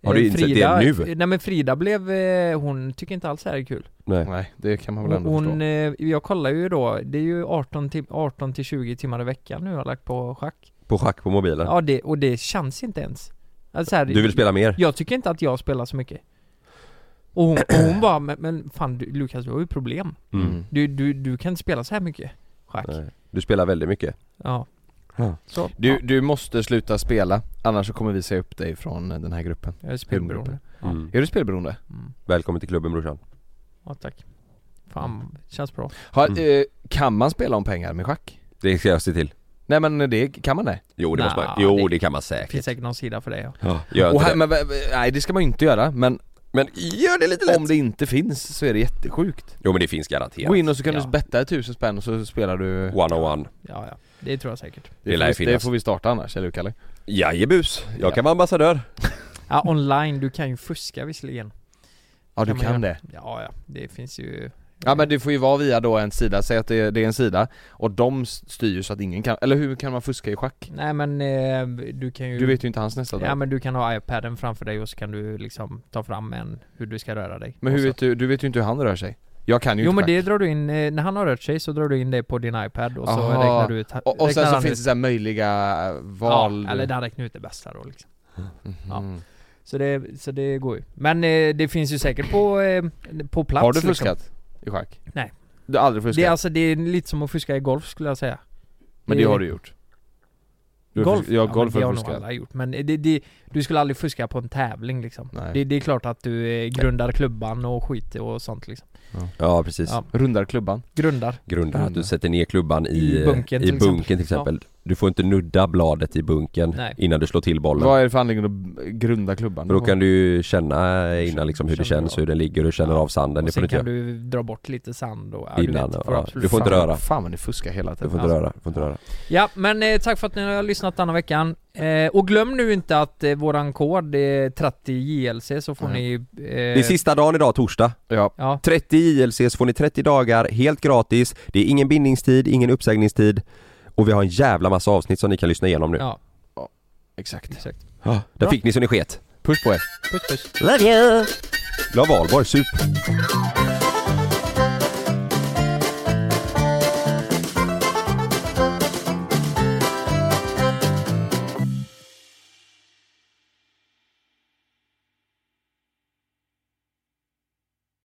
Har du Eh, insett det nu? Nej men Frida blev, eh, hon tycker inte alls det här är kul. Nej. Nej, det kan man väl Hon, ändå förstå. eh, jag kollar ju då, det är ju 18 till, 18 till 20 timmar i veckan nu jag har lagt på schack. På schack på mobilen. Ja det, och det känns inte ens. Alltså så här, Du vill spela mer? Jag tycker inte att jag spelar så mycket. Och hon, och hon bara, men, men fan du, Lukas du har ju problem. Mm. Du, du, du kan inte spela så här mycket schack. Nej. Du spelar väldigt mycket. Ja. Ja. Så. Du, ja, du måste sluta spela, annars så kommer vi säga upp dig från eh, den här gruppen. jag är spelberoende. Mm. Är du spelberoende? Mm. Välkommen till klubben brorsan. Ja tack. Fan, känns bra. Har, Mm. eh, kan man spela om pengar med schack? Det ska jag se till. Nej men det, kan man det? Jo det Nja, måste man. Jo det- det, kan man Det finns säkert. säkert någon sida för det ja. Ja, gör Och inte här, det. men, v- v- nej det ska man ju inte göra, men Men gör det lite lätt. om det inte finns så är det jättesjukt. Jo men det finns garanterat. Gå in och så kan Ja. du betta tusen spänn och så spelar du... One on one. Ja, ja. Det tror jag säkert. det lär ju får vi, det finnas. får vi starta annars, eller hur Kalle? Jajebus. Jag kan vara ambassadör. Ja, online, du kan ju fuska visserligen. Ja du man kan göra. det. Ja, ja. Det finns ju... Ja men det får ju vara via då en sida, säg att det är, det är en sida och de styr ju så att ingen kan, eller hur kan man fuska i schack? Nej men eh, du kan ju... Du vet ju inte hans nästa Ja drag. men du kan ha iPaden framför dig och så kan du liksom ta fram en, hur du ska röra dig. Men Och hur så- vet du, du vet ju inte hur han rör sig. Jag kan ju alltså. Jo inte men schack. det drar du in, eh, när han har rört sig så drar du in det på din iPad och så Aha. räknar du ut... Och, och sen räknar så han finns ut- det så här möjliga val... Ja, eller där räknar ut det bästa då liksom. ja. Mhm. Så det, så det går ju. Men eh, det finns ju säkert på, eh, på plats Har du liksom. fuskat i schack? Nej. Du har aldrig fuskat? Det är alltså, det är lite som att fuska i golf skulle jag säga. men det har du gjort? Du har golf? fus- Ja, men golf har det jag har nog fuskat. alla gjort. Men det, det, du skulle aldrig fuska på en tävling liksom. Nej. Det, det är klart att du eh, grundar klubban och skit och sånt liksom. Ja precis. Ja. Rundar klubban. Grundar. Grundar att du Mm. sätter ner klubban i, eh, I i bunken bunken, till till, exempel. exempel. Du får inte nudda bladet i bunken Nej. innan du slår till bollen. Vad är det för anledning att b- grunda klubban? För då kan du ju känna innan liksom hur det Känner känns, du av. hur den ligger, hur du känner av sanden. Det och får du sen inte kan göra. du dra bort lite sand och... Innan, vet, ja. får absolut Du får inte fan- röra. Fan men du fuskar hela tiden. Du får inte Alltså. röra, du får inte röra. Ja, men eh, tack för att ni har lyssnat denna veckan. Eh, och glöm nu inte att eh, våran kod är 30JLC så får Nej. ni... Eh, Mm. Det är sista dagen idag, torsdag. Ja. Ja, 30 ILC så får ni 30 dagar helt gratis. Det är ingen bindningstid, ingen uppsägningstid. Och vi har en jävla massa avsnitt som ni kan lyssna igenom nu. Ja. Exakt. exakt. Ah, Där Bra. fick ni så ni sket. Puss på er. Puss puss. Love you. Glad valborg, sup!